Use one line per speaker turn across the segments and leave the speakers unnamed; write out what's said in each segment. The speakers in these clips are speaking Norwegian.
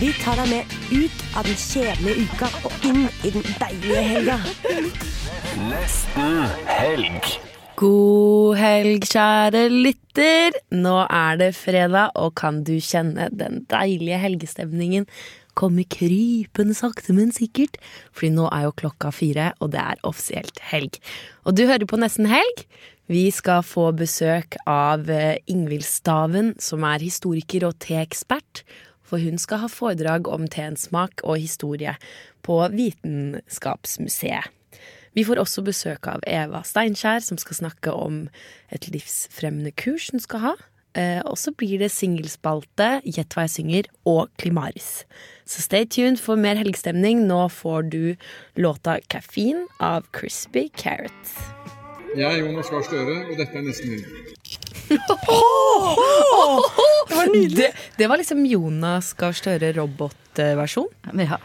Vi tar deg med ut av den kjedelige uka og inn i den deilige helga.
God helg, kjære lytter. Nå er det fredag, og kan du kjenne den deilige helgestemningen komme krypende sakte, men sikkert? Fordi nå er jo klokka fire, og det er offisielt helg. Og du hører på Nesten helg. Vi skal få besøk av eh, Ingvild Staven, som er historiker og teekspert. For hun skal ha foredrag om teens smak og historie på Vitenskapsmuseet. Vi får også besøk av Eva Steinkjær, som skal snakke om et livsfremmende kurs hun skal ha. Eh, og så blir det singelspalte, Gjett hva jeg synger, og Klimaris. Så stay tuned for mer helgestemning. Nå får du låta 'Kaffein' av Crispy Carrot.
Jeg er Jonas Gahr Støre, og dette er nesten helg.
Det var nydelig! Det, var liksom Jonas Gahr Støre robotversjon.
Ja.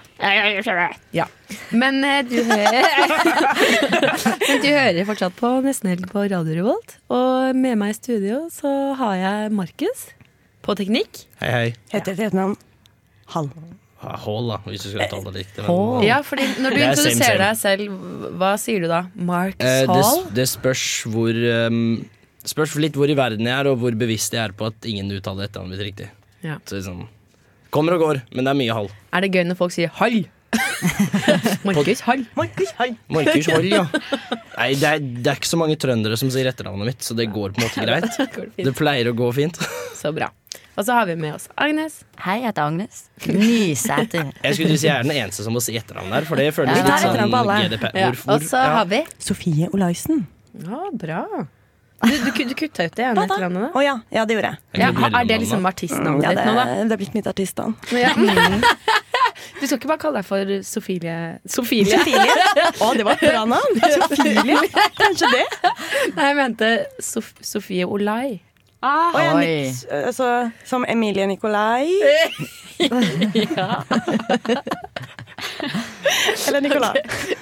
Ja. Men eh, du hører Men du hører fortsatt på Nesten Helg på Radio Revolt. Og med meg i studio så har jeg Markus på teknikk.
Hei, hei.
Heter det et navn? Hall.
Ja, Hall, da, hvis du skal uttale det riktig. men-
Ja, fordi når du
Det er same, same.
introduserer deg selv, hva sier du da? Marks
Eh, det,
Hall?
det spørs hvor um, Spørs litt hvor i verden jeg er, og hvor bevisst jeg er på at ingen uttaler etternavnet mitt riktig.
Ja.
Så liksom Kommer og går, men det er mye hall.
Er det gøy når folk sier hall? Markus Hall. Markus Hall.
Markus Hall, ja. Nei, det er, det er ikke så mange trøndere som sier etternavnet mitt, så det går på en måte greit.
Går det
Det
fint?
pleier å gå fint.
Så bra. Og så har vi med oss Agnes.
Hei, jeg heter Agnes. Nysæter.
Jeg skulle til å si jeg er den eneste som må si etternavnet her, for det føles
Ja,
litt
det er
sånn
etternavn på alle.
GDP.
Ja.
Hvor, hvor,
Og så har vi
Sofie Olaisen.
Ja, bra. Du, du, du kutta ut det ene
Hva da?
etternavnet.
Å ja, ja, det gjorde jeg.
Ja, er det liksom artistnavnet
Ja, det,
ditt nå, da?
det er blitt mitt artistnavn.
Du skal ikke bare kalle deg for Sofilie Sofilie?
Sofie? Å, det var et bra navn! Sofie. Kanskje det?
Nei, jeg mente Sof Sofie Olai.
Å, Ah, ja,
Oi.
nytt, altså, som Emilie Nicolai. Eller Nicolai.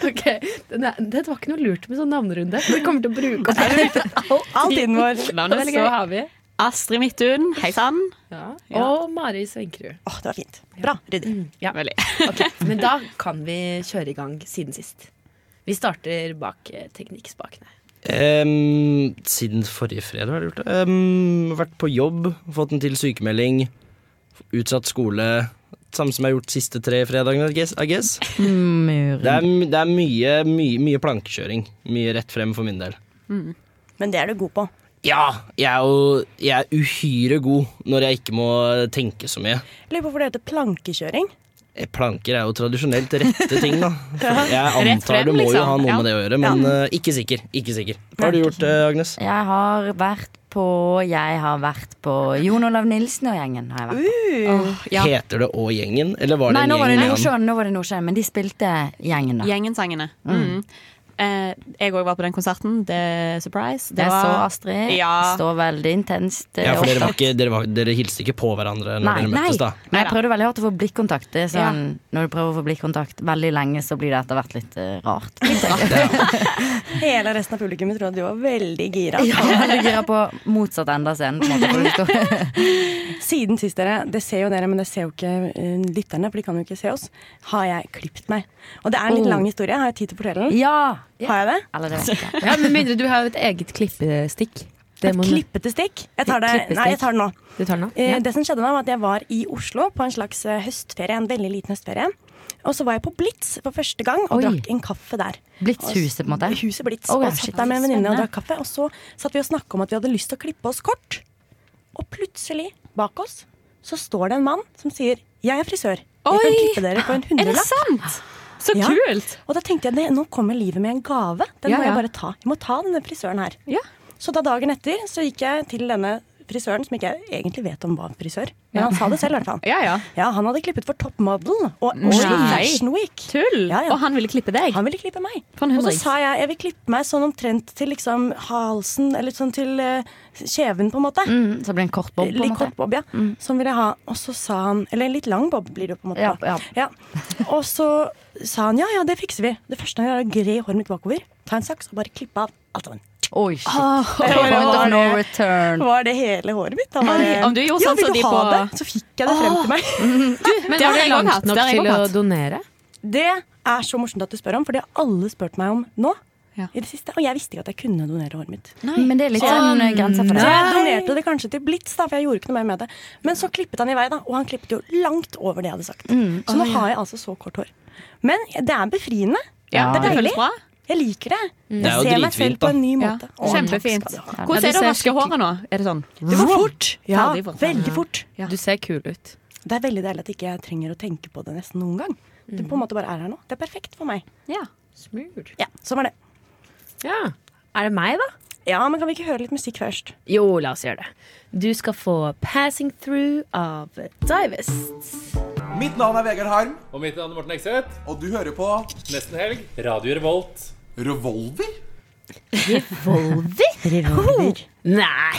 Ok, det, det var ikke noe lurt med sånn navnerunde. Vi kommer til å bruke opp
All tiden vår.
Og så har vi
Astrid Midthun, hei sann.
Og Mari Svenkerud.
Å, det var fint. Bra. Ryddig.
Ja. Ok, Men da kan vi kjøre i gang siden sist. Vi starter bak eh, teknikkspakene.
Ehm, siden forrige fredag har jeg gjort det. Ehm, vært på jobb, fått en til sykemelding. Utsatt skole. Samme som jeg har gjort siste tre fredagene, I guess. I guess. Det, er, m- det er mye, mye, mye plankekjøring. Mye rett frem for min del.
Mm. Men det er du god på.
Ja, jeg er jo jeg er uhyre god når jeg ikke må tenke så mye.
Lurer på hvorfor det heter plankekjøring.
Eh, Planker er jo tradisjonelt rette ting, da. Jeg
Rett
antar
frem,
du må jo
liksom.
ha noe
Ja.
med det å gjøre, men eh, ikke sikker. Ikke sikker. Hva har du gjort, eh, Agnes?
Jeg har vært på Jeg har vært på Jon Olav Nilsen og gjengen. Har jeg vært.
Uh,
Ja.
Heter det Og gjengen, eller var det
Nei,
en
nå var det
gjeng? igjen?
Nordsjøen, nå var det Nordsjøen, men de spilte gjengen, da.
Gjengensangene. Mm. Eh, jeg òg var på den konserten. Det surprise.
Det så
var-
Astrid.
Ja.
Står veldig intenst. eh,
Ja, for dere,
opptatt.
var ikke, dere, var, dere hilste ikke på hverandre når
Nei,
dere
nei.
møttes, da?
Men jeg prøvde veldig hardt å få blikkontakt. Det er sånn, Når du prøver å få blikkontakt veldig lenge, så blir det etter hvert litt eh, rart.
hele resten av publikummet tror at du var veldig gira.
Ja, du gira på motsatt ende av scenen. På en måte, for du står-
Siden sist, dere, det ser jo dere, men det ser jo ikke eh, lytterne, for de kan jo ikke se oss, har jeg klippet meg. Og det er en litt
Oh.
lang historie. Har jeg tid til å fortelle den?
ja!
Har jeg det?
Eller det vet jeg ikke.
Ja, Med mindre du har et eget klippestikk. Det
Et klippete stikk? Jeg tar det,
Klippestikk.
nei, jeg tar det nå.
Du tar den nå?
Eh, Det som skjedde da, var at jeg var i Oslo på en slags eh, høstferie, en veldig liten høstferie. Og så var jeg på Blitz for første gang og
Oi.
drakk en kaffe der.
Blitzhuset, på en måte.
Huset Blitz.
Oh, ja,
og satt
shit.
der med en venninne og
Spennende.
drakk kaffe. Og så satt vi og snakka om at vi hadde lyst til å klippe oss kort. Og plutselig, bak oss, så står det en mann som sier 'Jeg er frisør. Jeg kan klippe dere på en
Er det
hundrelapp'.
sant? Så
Ja.
kult!
Og da tenkte jeg "Nei, nå kommer livet med en gave. Den
Ja,
må jeg
ja.
bare ta. Jeg må ta denne frisøren her.
Ja.
Så da dagen etter så gikk jeg til denne frisøren, som ikke jeg egentlig vet om var en frisør, men han sa det selv i hvert fall.
Ja, ja.
Ja, han hadde klippet for Top Model og Oslo
Nei.
Fashion Week.
Tull!
Ja, ja.
Og han ville klippe deg.
Han ville klippe meg.
For en
Og så
hundrings.
sa jeg jeg vil klippe meg sånn omtrent til liksom halsen, eller sånn til eh, kjeven, på en måte.
Mm, så det blir en kort bob, på en
Litt
måte. Mm.
kort bob, ja. Som ville ha. Og så sa han Eller en litt lang bob blir det jo på en måte.
Ja,
da. Ja. Og så sa han ja, ja, det fikser vi. Det første han gjør, er å gre håret mitt bakover, ta en saks og bare klippe av alt sammen.
Oi, shit.
Ah,
det var-
Point of
det-
no return.
Var det hele håret mitt? Han bare,
Oi, om du gjorde
ja,
sånn
vil
som
du
de
ha
på-
det? Så fikk jeg det frem
Ah.
til meg.
Men
Det
det har
er det
jeg også
langt
hatt. Det
nok
har jeg
til
også
å
hatt.
donere?
Det er så morsomt at du spør om, for det har alle spurt meg om nå.
Ja.
I det siste, og jeg visste ikke at jeg kunne donere håret mitt.
Men det er litt sånn eh, grenser for
Så
det.
jeg donerte det kanskje til Blitz, da, for jeg gjorde ikke noe mer med det. Men så klippet han i vei, da, og han klippet jo langt over det jeg hadde sagt.
Mm.
Så nå har jeg altså så kort hår. Men det er befriende.
Ja,
det er
føles
deilig.
bra.
Jeg liker det.
Det er
Jeg
jo
ser meg
dritfint,
selv på en ny
Ja.
måte. Å,
Kjempefint.
takk skal du ha.
Hvordan
Ja,
er
du
det å
ser
vaske håret nå? Er det sånn?
Det var fort! Ja,
Ferdig fort.
veldig fort.
Ja.
Du ser kul ut.
Det er veldig deilig at ikke jeg trenger å tenke på det nesten noen gang. Det på en måte bare er her nå. Det er perfekt for meg.
Ja.
Ja, sånn var det.
Ja. Er det meg, da?
Ja, men kan vi ikke høre litt musikk først?
Jo, la oss gjøre det. Du skal få 'Passing Through' av Divest.
Mitt navn er Vegard Harm,
Og mitt navn er Morten Ekseth.
og du hører på
Nesten helg. Radio Revolt.
Revolver.
Nei!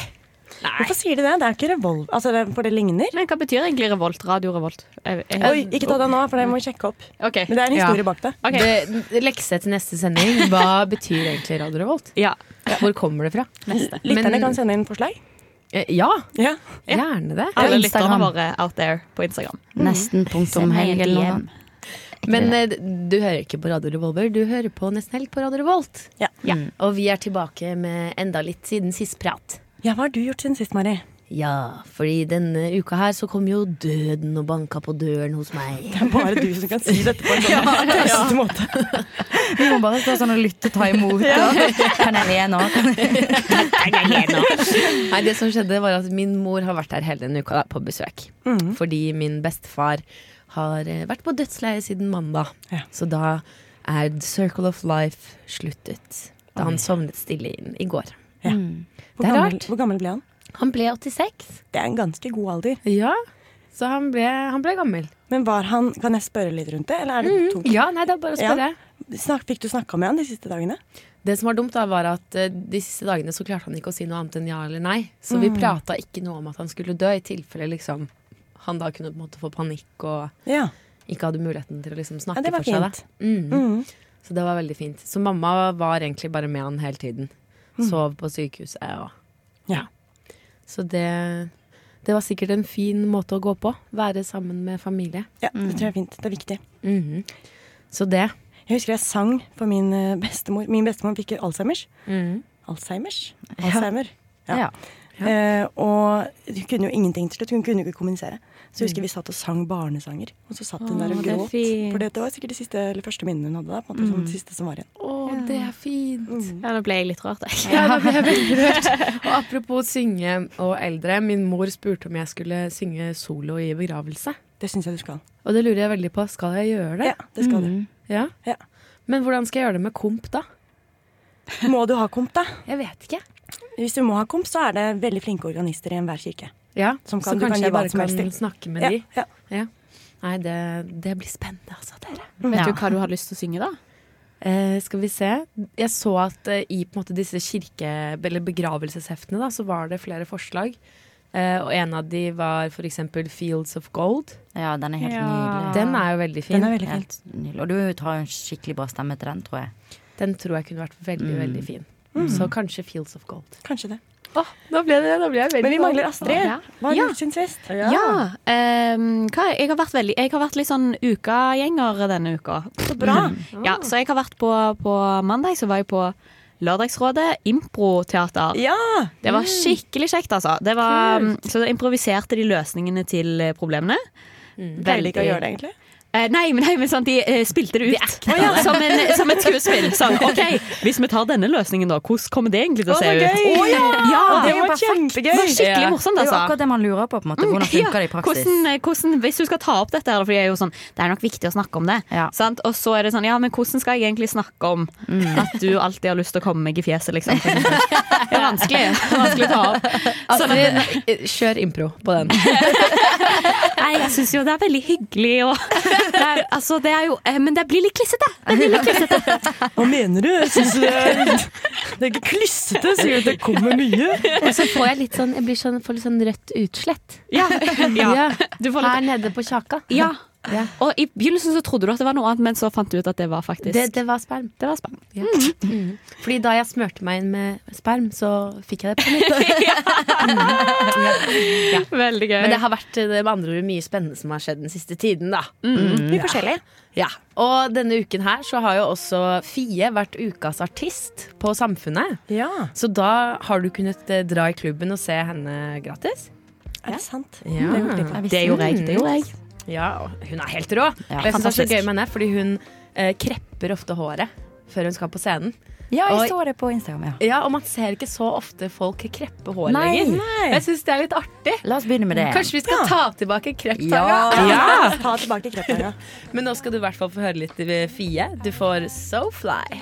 Hvorfor sier de det? Det er ikke revolver. Altså, det, for det ligner.
Men hva betyr egentlig revolt? Radio revolt? Jeg- jeg-
Oi, ikke ta det nå, for det må vi sjekke opp.
Ok.
Men det er en historie bak det.
Ok.
Det, lekse til neste sending. Hva betyr egentlig Radio Revolt?
Ja.
Hvor kommer det fra?
Lytterne
Men-
kan sende inn forslag.
Eh, Ja,
Ja.
gjerne det. Mm.
Alle lytterne
Instagram. Mm.
våre out there på Instagram.
Nesten punktum helg eller noe sånt.
Men eh, du hører ikke på Radio Revolver, du hører på Nesten Helg på Radio Revolt. Mm.
Ja.
Og vi er tilbake med enda litt siden sist prat.
Ja, hva har du gjort siden sist, Mari?
Ja, fordi denne uka her så kom jo døden og banka på døren hos meg.
Det er bare du som kan si dette på en sånn tøysete måte.
Vi må bare stå sånn og lytte, ta imot. og- Kan jeg le nå?
Nei, det som skjedde var at min mor har vært her hele denne uka da, på besøk.
Mm.
Fordi min bestefar har eh, vært på dødsleie siden mandag.
Ja.
Så da er The Circle of Life sluttet. Da han sovnet stille inn i går.
Hvor
Det er
gammel,
rart.
hvor gammel ble han?
Han ble 86.
Det er en ganske god alder.
Ja, så han ble, han ble gammel. Mm-hmm.
Men var han, kan jeg spørre litt rundt det? Eller er det tungt?
Ja, nei, det er bare å spørre.
Snak, fikk du snakka med han de siste dagene?
Det som var dumt, da var at eh, de siste dagene så klarte han ikke å si noe annet enn ja eller nei. Så
Mm.
vi prata ikke noe om at han skulle dø, i tilfelle liksom han da kunne på en måte få panikk og
Ja.
ikke hadde muligheten til å liksom
ja
snakke
det var
for seg. da.
fint.
Mm. Så det var veldig fint. Så mamma var egentlig bare med han hele tiden. Sov på sykehuset og
Mm. Ja.
Så det, det var sikkert en fin måte å gå på. Være sammen med familie.
Ja, det tror jeg er fint. Det er viktig.
Mhm. Så det.
Jeg husker jeg sang for min eh, bestemor. Min bestemor fikk Alzheimers.
Mm. Mm-hmm.
Alzheimers? Alzheimer. Ja.
Ja.
Eh, og hun kunne jo ingenting til slutt. Hun kunne jo ikke kommunisere. Så
Mm.
jeg husker vi satt og sang barnesanger, og så satt hun der og
det er
gråt.
fint.
For det var sikkert de siste, eller første minnene hun hadde. Da, på
Mm.
en måte, sånn, det siste som var igjen.
Å, det er fint.
Ja, nå ble jeg litt rørt, jeg.
Ja, da ble jeg veldig rørt. Og apropos synge og eldre. Min mor spurte om jeg skulle synge solo i begravelse.
Det syns jeg du skal.
Og det lurer jeg veldig på. Skal jeg gjøre det? Mm.
Ja, det skal
Ja.
Ja.
Men hvordan skal jeg gjøre det med komp, da?
du. Må du ha komp, da?
Jeg vet ikke.
Hvis du må ha komp, så er det veldig flinke organister i enhver kirke.
Ja,
Som
så
kan- du kan
kanskje
gi
jeg bare
hva som helst
kan
til.
snakke med
Ja,
de.
ja.
Ja. Nei, det, det blir spennende, altså, dere.
Vet
Ja.
du hva du har lyst til å synge, da?
Eh, skal vi se. Jeg så at eh, i på en måte, disse kirke- eller begravelsesheftene da, så var det flere forslag. Eh, og en av de var for eksempel Fields of Gold.
Ja, den er helt
Ja.
nydelig.
Den er jo veldig
Den
fin. Den,
er veldig fin.
Helt nydelig. Og du tar jo en skikkelig bra stemme til den, tror jeg.
tror jeg kunne vært veldig, veldig fin. Så kanskje Fields of Gold.
Kanskje det.
da, ble det, da ble jeg veldig
Men vi mangler Astrid.
Ja.
Hva har du
Ja.
gjort siden sist?
Ja. ehm, hva, jeg, har vært veldig, jeg har vært litt sånn ukagjenger denne uka. Så bra. Ja, så jeg har vært på, på mandag, så var jeg på Lørdagsrådet improteater.
Ja!
Det var skikkelig kjekt, altså. Det var, så da improviserte de løsningene til eh, problemene.
Mm.
Pleier de ikke å gjøre det, egentlig?
Eh, nei, men, nei, men sånn, de eh, spilte det ut Å ja, som, en, eh, som et skuespill. Sånn, ok, Hvis vi tar denne løsningen, da, hvordan kommer det egentlig til å
Å,
se
så
ut?
gøy!
Å, ja!
Ja,
Og
det er jo
var
perfekt.
kjempegøy. Det var skikkelig
Ja.
morsomt,
Det er jo
altså.
akkurat det man lurer på, på en måte. Hvordan funker det i praksis?
Mm, Hvordan, eh, hvordan, hvis du skal ta opp dette, her, for det er jo sånn Det er nok viktig å snakke om det. Sant? Og så er det sånn Ja, men hvordan skal jeg egentlig snakke om at du alltid har lyst til å komme meg i fjeset, liksom? for eksempel? Det er vanskelig. Det er vanskelig å ta opp. Sånn at-
Astrid, kjør impro på den.
Nei, jeg syns jo det er veldig hyggelig og det er, altså, det er jo, eh, Men det blir litt klissete. Det blir litt klissete.
Hva mener du? Jeg synes det er, det er ikke klissete, sier du. Det kommer mye.
Og så får jeg litt sånn, jeg blir sånn, får litt sånn rødt utslett.
Ja. Ja.
Her nede på kjaka.
Ja. Og i begynnelsen så trodde du at det var noe annet, men så fant du ut at det var faktisk
Det, det var sperm.
Det var sperm.
Ja. Mm. Fordi da jeg smurte meg inn med sperm, så fikk jeg det på nytt. Mm. Ja.
Veldig gøy.
Men det har vært det er med andre ord mye spennende som har skjedd den siste tiden, da.
Mm. Mye
Ja.
forskjellig.
Ja. Og denne uken her så har jo også Fie vært ukas artist på Samfunnet. Så da har du kunnet eh, dra i klubben og se henne gratis.
Er det sant?
Ja.
Det gjorde jeg ikke.
Det gjorde jeg, det gjorde jeg. Ja, og hun er helt rå.
Ja,
og jeg synes det er så
fantastisk.
gøy med henne, fordi hun eh, krepper ofte håret før hun skal på scenen.
Ja,
Og-
jeg så det på Instagram, ja.
Ja, og man ser ikke så ofte folk kreppe hår
Nei.
lenger.
Nei.
Jeg syns det er litt artig.
La oss begynne med det.
Kanskje vi skal ta tilbake krepptanga?
Ja. Ja.
Ta tilbake krepptanga.
Men nå skal du i hvert fall få høre litt eh, Fie. Du får So Fly.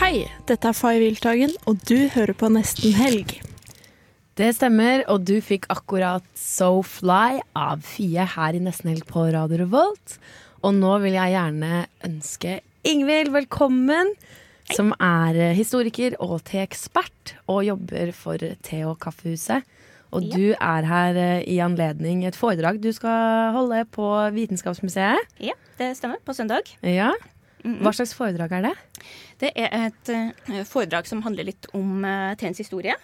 Hei, dette er Fay Wiltagen, og du hører på Nesten Helg.
Det stemmer, og du fikk akkurat So Fly av Fie her i Nesten Helg på Radio Revolt. Og nå vil jeg gjerne ønske Ingvild velkommen, som er eh, historiker og teekspert og jobber for Te- og Kaffehuset. Og du er her eh, i anledning et foredrag du skal holde på Vitenskapsmuseet.
Ja, det stemmer. På søndag.
Ja.
Mm.
Hva slags foredrag er det?
Det er et eh, foredrag som handler litt om eh, teens historie.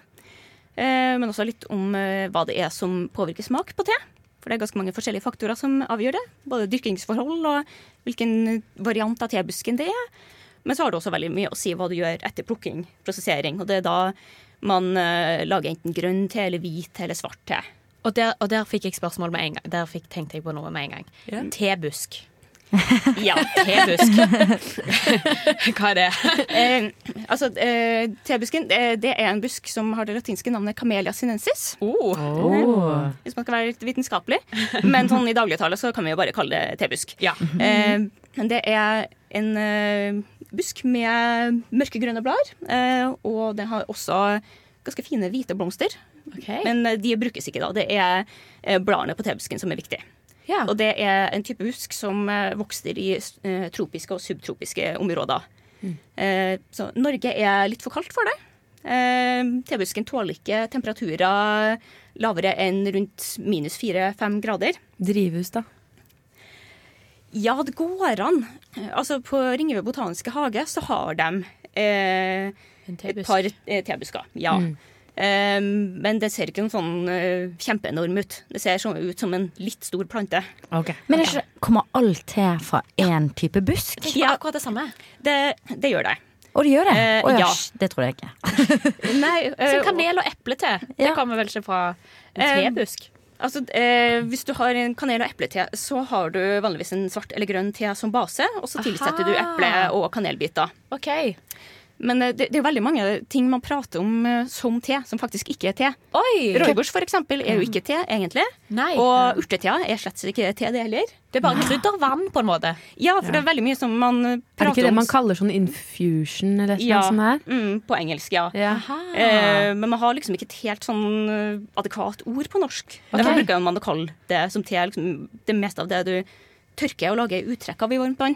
eh, men også litt om eh, hva det er som påvirker smak på te. For det er ganske mange forskjellige faktorer som avgjør det. Både dyrkingsforhold og hvilken variant av tebusken det er. Men så har det også veldig mye å si hva du gjør etter plukking, prosessering. Og det er da man eh, lager enten grønn te eller hvit te eller svart te.
Og der, og der fikk jeg spørsmål med en gang. Der fikk, tenkte jeg på noe med en gang. Tebusk.
Ja,
tebusk. Hva er det?
eh, altså, eh, tebusken eh, det er en busk som har det latinske navnet Camellia sinensis. Eh,
Oh.
Hvis man skal være litt vitenskapelig. Men sånn i dagligtale så kan vi jo bare kalle det tebusk. Eh, men det er en eh, busk med mørkegrønne blader, eh, og den har også ganske fine hvite blomster. Men eh, de brukes ikke da. Det er eh, bladene på tebusken som er viktig. Og det er en type busk som eh, vokser i eh, tropiske og subtropiske områder.
Mm.
Eh, så Norge er litt for kaldt for det. Eh, Tebusken tåler ikke temperaturer lavere enn rundt minus fire-fem grader.
Drivhus, da?
Ja, det går an. Eh, Altså, på Ringebu botaniske hage så har de eh, et par eh, tebusker. Ja.
Mm.
Eh, men det ser ikke noen sånn eh, kjempeenorm ut. Det ser sånn ut som en litt stor plante.
Men er ikke, kommer alt te fra én type busk?
Ja, akkurat det samme. Det, gjør det.
Og det gjør det?
Eh,
Å ja,
ja.
sj, det tror jeg ikke.
Nei, eh,
Så kanel og eplete. Det kommer vel ikke fra en tebusk?
Altså, eh, Hvis du har en kanel- og eplete, så har du vanligvis en svart eller grønn te som base, og så tilsetter du
Aha.
eple og kanelbiter.
Ok.
Men eh, det, det er jo veldig mange ting man prater om eh, som te, som faktisk ikke er te.
Oi! Mm.
Rooibos for eksempel er jo ikke te, egentlig.
Nei.
Og urtetea er slett ikke te, det heller.
Det er bare kryddervann, på en måte.
Ja, for det er veldig mye som man eh,
Er det
prater
ikke det
om
man kaller sånn infusion eller noe
Ja,
sånt? her?
Mm, på engelsk, ja.
Aha.
Eh, men man har liksom ikke et helt sånn eh, adekvat ord på norsk. Derfor
Ok.
bruker man å kalle det som te liksom, det meste av det du tørker og lager uttrekk av i varmt vann.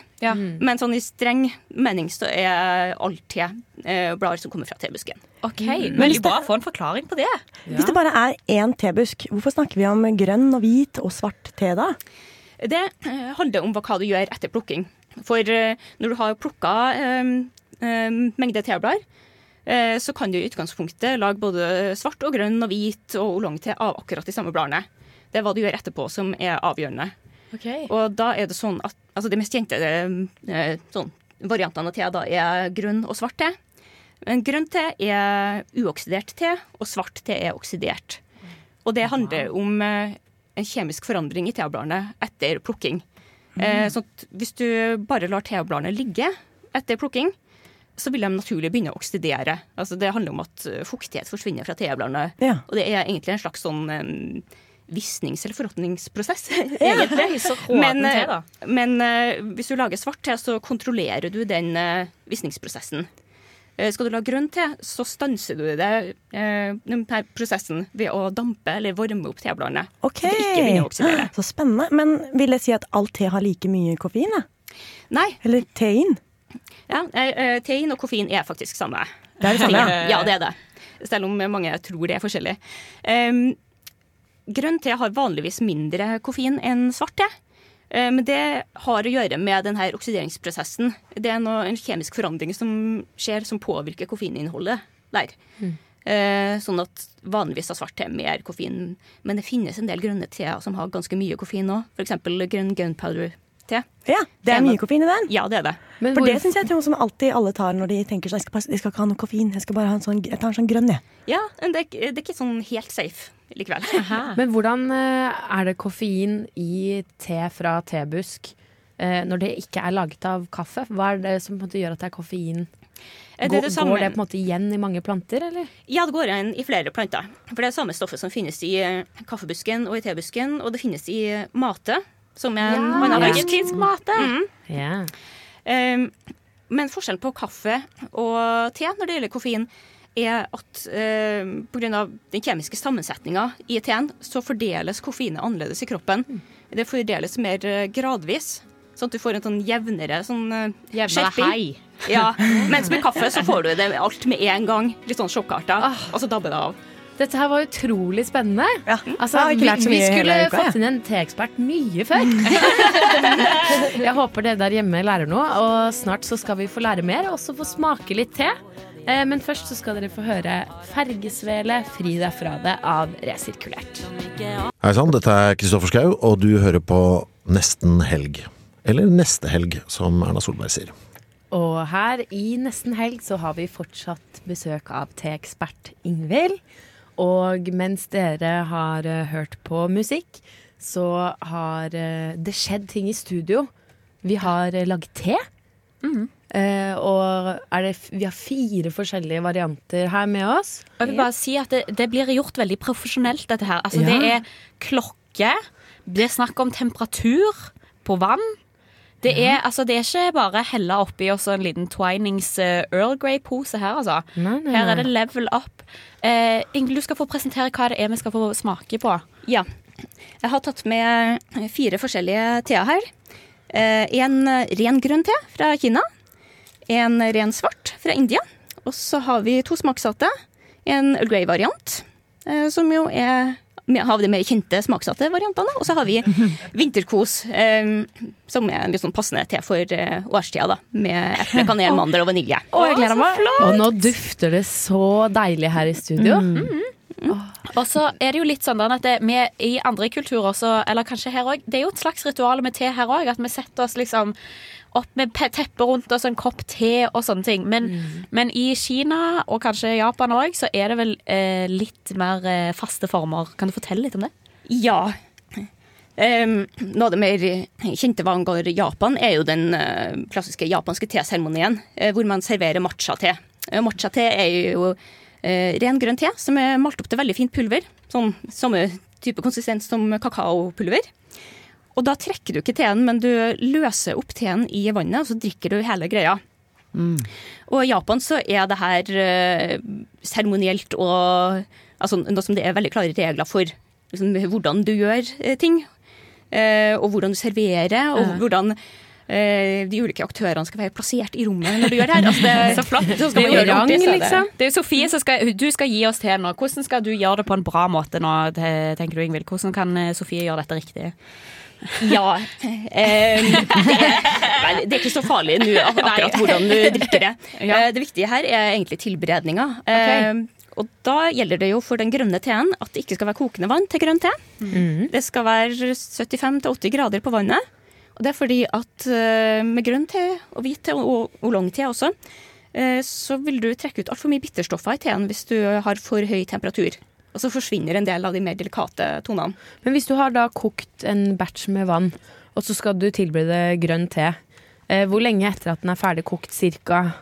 Men sånn i streng mening så er alt te eh, blader som kommer fra tebusken.
Ok,
Mm.
Veldig bra å få en forklaring på det.
Hvis det bare er én tebusk, hvorfor snakker vi om grønn og hvit og svart te da?
Det eh, handler om hva- hva du gjør etter plukking. For eh, når du har plukka eh, eh, mengde teblader, eh, så kan du i utgangspunktet lage både svart og grønn og hvit og oolong-te av akkurat de samme bladene. Det er hva du gjør etterpå som er avgjørende. Og da er det sånn at altså de mest kjente eh, sånn, variantene av te da er grønn og svart te. Men grønn te er uoksidert te, og svart te er oksidert. Og det handler om eh, en kjemisk forandring i tebladene etter plukking. Eh, så at hvis du bare lar teebladene ligge etter plukking, så vil de naturlig begynne å oksidere. Altså det handler om at eh, fuktighet forsvinner fra teebladene.
Ja.
Og det er egentlig en slags sånn em, visnings- eller forråtningsprosess.
Ja,
egentlig.
så rå
men
den te,
eh,
da.
men eh, hvis du lager svart te, så kontrollerer du den eh, visningsprosessen. Eh, skal du lage grønn te, så stanser du det, eh, den per- prosessen ved å dampe eller varme opp tebladene.
Ok,
Så det ikke begynner å oksidere.
Så spennende. Men vil det si at all te har like mye koffein? da?
Nei.
Eller tein?
Ja, eh, eh, tein og koffein er faktisk samme.
Det er det samme, ja.
ja. ja. det er det. Selv om mange tror det er forskjellig. Um, grønn te har vanligvis mindre koffein enn svart te. Eh, Men det har å gjøre med denne oksideringsprosessen. Det er noe, en kjemisk forandring som skjer som påvirker koffeininnholdet der. Eh, Sånn at vanligvis har svart te mer koffein, men det finnes en del grønne teer som har ganske mye koffein òg. F.eks. grønn gunpowder-te.
Ja, det er mye koffein i den.
Ja, det er det.
For det syns jeg er noe som alltid alle tar når de tenker sånn, jeg skal, bare, jeg skal ikke ha noe koffein, jeg skal bare ha en sånn, jeg tar en sånn grønn, jeg.
Ja, men det er, ikke- det er ikke sånn helt safe likevel.
Men hvordan eh, er det koffein i te fra tebusk eh, når det ikke er laget av kaffe? Hva er det som på en måte gjør at det er koffein?
Eh, det er
Går-
det samme-
Går det på en måte igjen i mange planter, eller?
Ja, det går igjen i flere planter. For det er samme stoffet som finnes i eh, kaffebusken og i tebusken, og det finnes i eh, mate, som er en Mm.
Ja,
mannabusk.
argentinsk
mate.
Ja.
Ehm, men forskjellen på kaffe og te når det gjelder koffein, er at eh, pga. den kjemiske sammensetninga i teen, så fordeles koffeinet annerledes i kroppen. Det fordeles mer eh, gradvis, sånn at du får en sånn jevnere sånn, eh,
Jevnere
skjerping.
hei.
Ja, mens med kaffe så får du det alt med en gang. Litt sånn sjokkarta, og så dabber det av.
Dette her var utrolig spennende. Altså,
Jeg har ikke
vi,
lært så
vi
mye
skulle
hele uka, jeg.
fått inn en teekspert mye før. jeg håper dere der hjemme lærer noe, og snart så skal vi få lære mer og også få smake litt te. Eh, Men først så skal dere få høre Fergesvele fri deg fra det av Resirkulert.
Hei sann, dette er Kristoffer Schau, og du hører på Nesten helg. Eller Neste helg, som Erna Solberg sier.
Og her i nesten helg så har vi fortsatt besøk av teekspert Ingvild. Og mens dere har eh, hørt på musikk, så har eh, det skjedd ting i studio. Vi har eh, laget te.
Mm-hmm.
Eh, og er det, f- vi har fire forskjellige varianter her med oss.
Jeg vil bare si at det, det blir gjort veldig profesjonelt, dette her. Altså,
Ja.
Det er klokke, det er snakk om temperatur på vann. Det er, altså, det er ikke bare helle oppi også en liten Twinings eh, Earl Grey-pose her, altså.
nei,
Her
nei.
er det level up. Eh, Ingvild, du skal få presentere hva det er vi skal få smake på.
Ja. Jeg har tatt med fire forskjellige teer her. Eh, en ren grønn te fra Kina. En ren svart fra India. Og så har vi to smaksatte. En Earl Grey-variant, eh, som jo er med- har de mer kjente smaksatte variantene. Og så har vi vinterkos, eh, som er en litt sånn passende te for eh, årstida, da. Med eple, kanel, mandel og vanilje.
Å, jeg gleder meg. Og nå dufter det så deilig her i studio.
Mm-hmm. Og så er det jo litt sånn at det, vi i andre kulturer også, eller kanskje her òg, det er jo et slags ritual med te her òg. At vi setter oss liksom opp med pe- teppe rundt oss, en kopp te og sånne ting. Men, men i Kina og kanskje Japan òg, så er det vel eh, litt mer eh, faste former. Kan du fortelle litt om det?
Ja. Em, noe av det mer kjente hva angår Japan, er jo den eh, klassiske japanske teseremonien, eh, hvor man serverer matcha-te. Eh, matcha-te er jo eh, ren grønn te som er malt opp til veldig fint pulver. Sånn, samme type konsistens som kakaopulver. Og da trekker du ikke teen, men du løser opp teen i vannet, og så drikker du hele greia. Og i Japan så er det her eh, seremonielt og altså, noe som det er veldig klare regler for. Liksom, hvordan du gjør eh, ting, eh, og hvordan du serverer, og
Ja.
hvordan eh, de ulike aktørene skal være plassert i rommet når du gjør det her. Altså, det,
så flott.
Så skal man gjøre det ordentlig, så er liksom. det-
Det er jo Sofie som skal, du skal gi oss te nå. Hvordan skal du gjøre det på en bra måte nå, te- tenker du Ingvild? Hvordan kan eh, Sofie gjøre dette riktig?
Ja. Em, det, er, vel, det er ikke så farlig Eh, nå ak- akkurat
Nei.
hvordan du drikker det. Eh, Det viktige her er egentlig tilberedninga. Em, Og da gjelder det jo for den grønne teen at det ikke skal være kokende vann til grønn te. Det skal være 75-80 grader på vannet. Og det er fordi at eh, med grønn te og hvit te og oolong-te også, eh, så vil du trekke ut altfor mye bitterstoffer i teen hvis du har for høy temperatur. Og så forsvinner en del av de mer delikate tonene.
Men hvis du har da kokt en batch med vann, Og så skal du tilberede grønn te. Eh, Hvor lenge etter at den er ferdig kokt, cirka?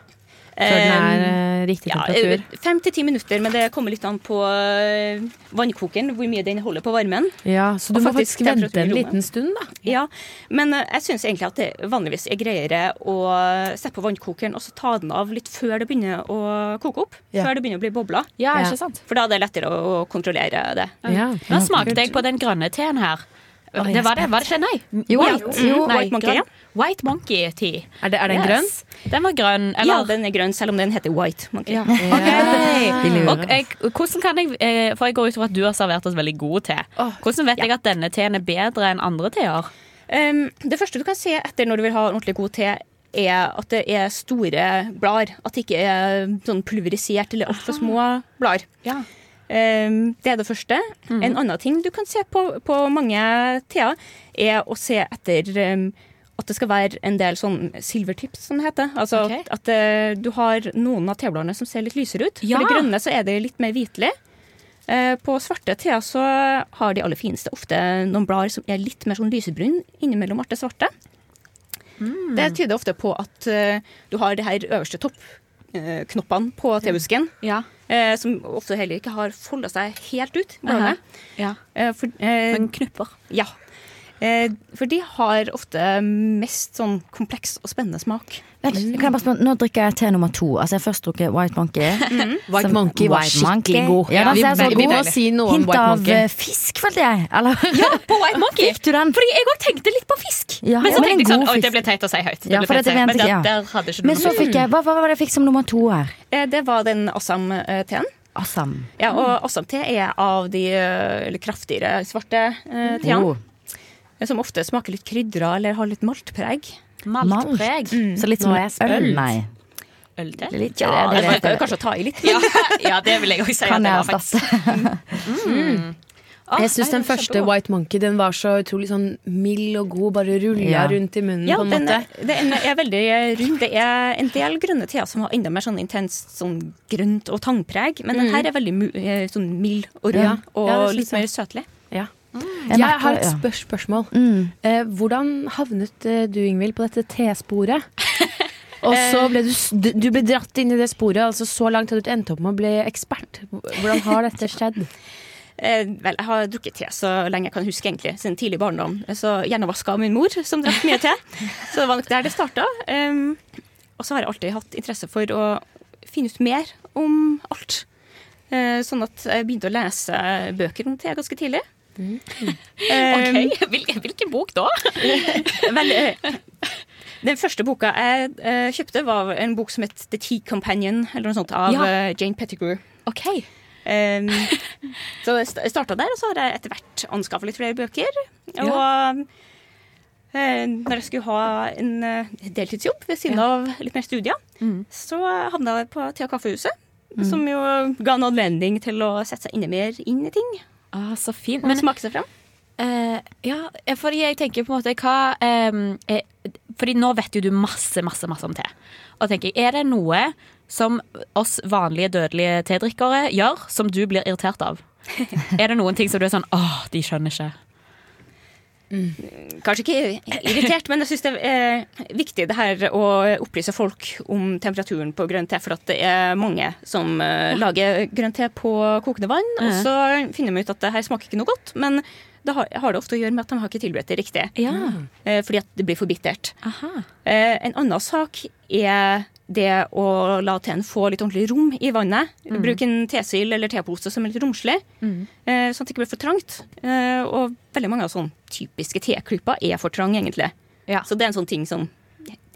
Før den er eh, riktig
Ja,
temperatur?
eh, Fem til ti minutter, men det kommer litt an på eh, vannkokeren, hvor mye den holder på varmen.
Ja, Så du
Og
må faktisk vente
temperatur i
en
rommet.
liten stund, da.
Ja, men eh, jeg syns egentlig at det vanligvis er greiere å sette på vannkokeren og så ta den av litt før det begynner å koke opp.
Ja.
Før det begynner å bli bobler.
Ja, ikke sant?
For da er det lettere å å kontrollere det.
Ja. Nå smakte jeg på den grønne teen her.
Å, jeg
Det
er
var det, var det ikke? Nei.
Jo,
White,
jo,
nei,
White Monkey,
grønn.
ja.
White Monkey Tea.
Er, den
grønn? Den var grønn.
Ja,
Eller?
den er grønn, selv om den heter white. Monkey.
Ok.
De lurer
Og jeg, hvordan kan jeg, eh, for jeg går ut fra at du har servert oss veldig god te. Hvordan vet jeg at denne teen er bedre enn andre teer?
Um, det første du kan se etter når du vil ha en ordentlig god te, er at det er store blader. At det ikke er sånn pulverisert eller altfor små blader. Um, det er det første.
Mm.
En annen ting du kan se på, på mange teer, er å se etter um, at det skal være en del sånn silvertips, som det heter. Altså
Ok.
at, at eh, du har noen av tebladene som ser litt lysere ut.
Ja.
For de grønne så er det litt mer hvitlig. Eh, På svarte teer så har de aller fineste ofte noen blader som er litt mer sånn lysebrun innimellom alt det svarte.
Mm.
Det tyder ofte på at eh, du har det her øverste toppknoppene på tebusken. eh, Som ofte heller ikke har folda seg helt ut. bladene. Eh, for, eh, Men
knupper.
Ja. Eh, for de har ofte mest sånn kompleks og spennende smak.
Vent, kan jeg bare spørre, Nå drikker jeg te nummer to. Altså Jeg har først drukket White Monkey.
Mhm.
White Monkey var skikkelig god.
Ja, den
Ja,
ser så
vi- vi- vi
god
må
ut.
si noe om
Hint
White
av
Monkey.
eh, fisk, følte jeg. Eller?
Ja, på White Monkey!
Fikk du den?
Fordi jeg òg tenkte litt på fisk.
Ja,
men så
men en
tenkte jeg sånn,
god
oi, det
fisk.
ble teit å si høyt. Det
Ja,
ble
for
teit å
dette
si høyt,
mente
men
ikke jeg.
der, der hadde ikke du
Men
noe
så
fisk.
fikk jeg, hva, hva var det jeg fikk som nummer to her?
Eh, Det var den Assam-teen.
Assam.
Ja,
Mm.
og Assam-te er av de eh, eller kraftigere svarte eh, teene.
Oh.
Som ofte smaker litt krydra eller har litt maltpreg.
Maltpreg?
Mm.
Så litt som
Nå er
en
jeg
øl,
spent.
nei.
Ølte?
Det er litt-
Ja,
ja, det
det
vet
var
jeg.
jo kanskje å ta i litt.
Ja, ja, det vil jeg òg si. at
Kan
det
jeg
var faktisk- Mm. Ah,
Jeg syns
nei,
den
det var
første
kjempegod.
White Monkey den var så utrolig sånn mild og god, bare rulla
Ja.
rundt i munnen
Ja,
på en
den
måte.
er, den er veldig rund. Det er en del grønne teer som har enda mer sånn intenst sånn grønt og tangpreg, men den
Mm.
her er veldig mu- eh, sånn mild og rund
Ja.
og
Ja, det
litt
synes
mer søtlig. Mm.
Ja.
Jeg
Jeg,
merker-
har et
ja.
spør spørsmål. Eh, hvordan havnet eh, du, Ingvild, på dette tesporet? Og så ble du, s- du, du ble dratt inn i det sporet. Altså Så langt har du endt opp med å bli ekspert. Hvordan har dette skjedd?
Eh, vel, jeg har drukket te så lenge jeg kan huske, egentlig, siden tidlig barndom. Så hjernevaska av min mor, som drakk mye te. Så det var nok der det starta. Um, og så har jeg alltid hatt interesse for å finne ut mer om alt. Eh, sånn at jeg begynte å lese bøker om te ganske tidlig. Um,
Ok, Hvilken, hvilken bok da?
Vel, eh, den første boka jeg eh, kjøpte, var en bok som het The Tea Companion, eller noe sånt, av
Ja.
eh, Jane Pettigrew. Ehm,
Ok.
så jeg sta- jeg starta der, og så har jeg etter hvert anskaffa litt flere bøker. Og eh, når jeg skulle ha en eh, deltidsjobb ved siden av litt mer studier, så havna jeg på Te- og kaffehuset.
Mm.
Som jo ga en anledning til å sette seg enda mer inn i ting.
Ah, så fint.
Og smake seg frem.
Eh, ja, fordi jeg tenker på en måte hva ehm, eh, Fordi nå vet jo du masse, masse, masse om te. Og tenker jeg, er det noe som oss vanlige dødelige tedrikkere gjør, som du blir irritert av? er det noen ting som du er sånn åh, de skjønner ikke?
Mm. Kanskje ikke irritert, men jeg syns det er viktig det her å opplyse folk om temperaturen på grønn te. For at det er mange som eh, lager grønn te på kokende vann, og
Ja.
så finner de ut at det her smaker ikke noe godt. Men det har, har det ofte å gjøre med at de har ikke tilberedt det riktig. Eh, Fordi at det blir for bittert. Eh, En annen sak er det å la teen få litt ordentlig rom i vannet.
Mm.
Bruk en tesil eller tepose som er litt romslig. Eh, Sånn at det ikke blir for trangt. Eh, Og veldig mange av sånne typiske teklyper er for trang, egentlig. Så det er en sånn ting som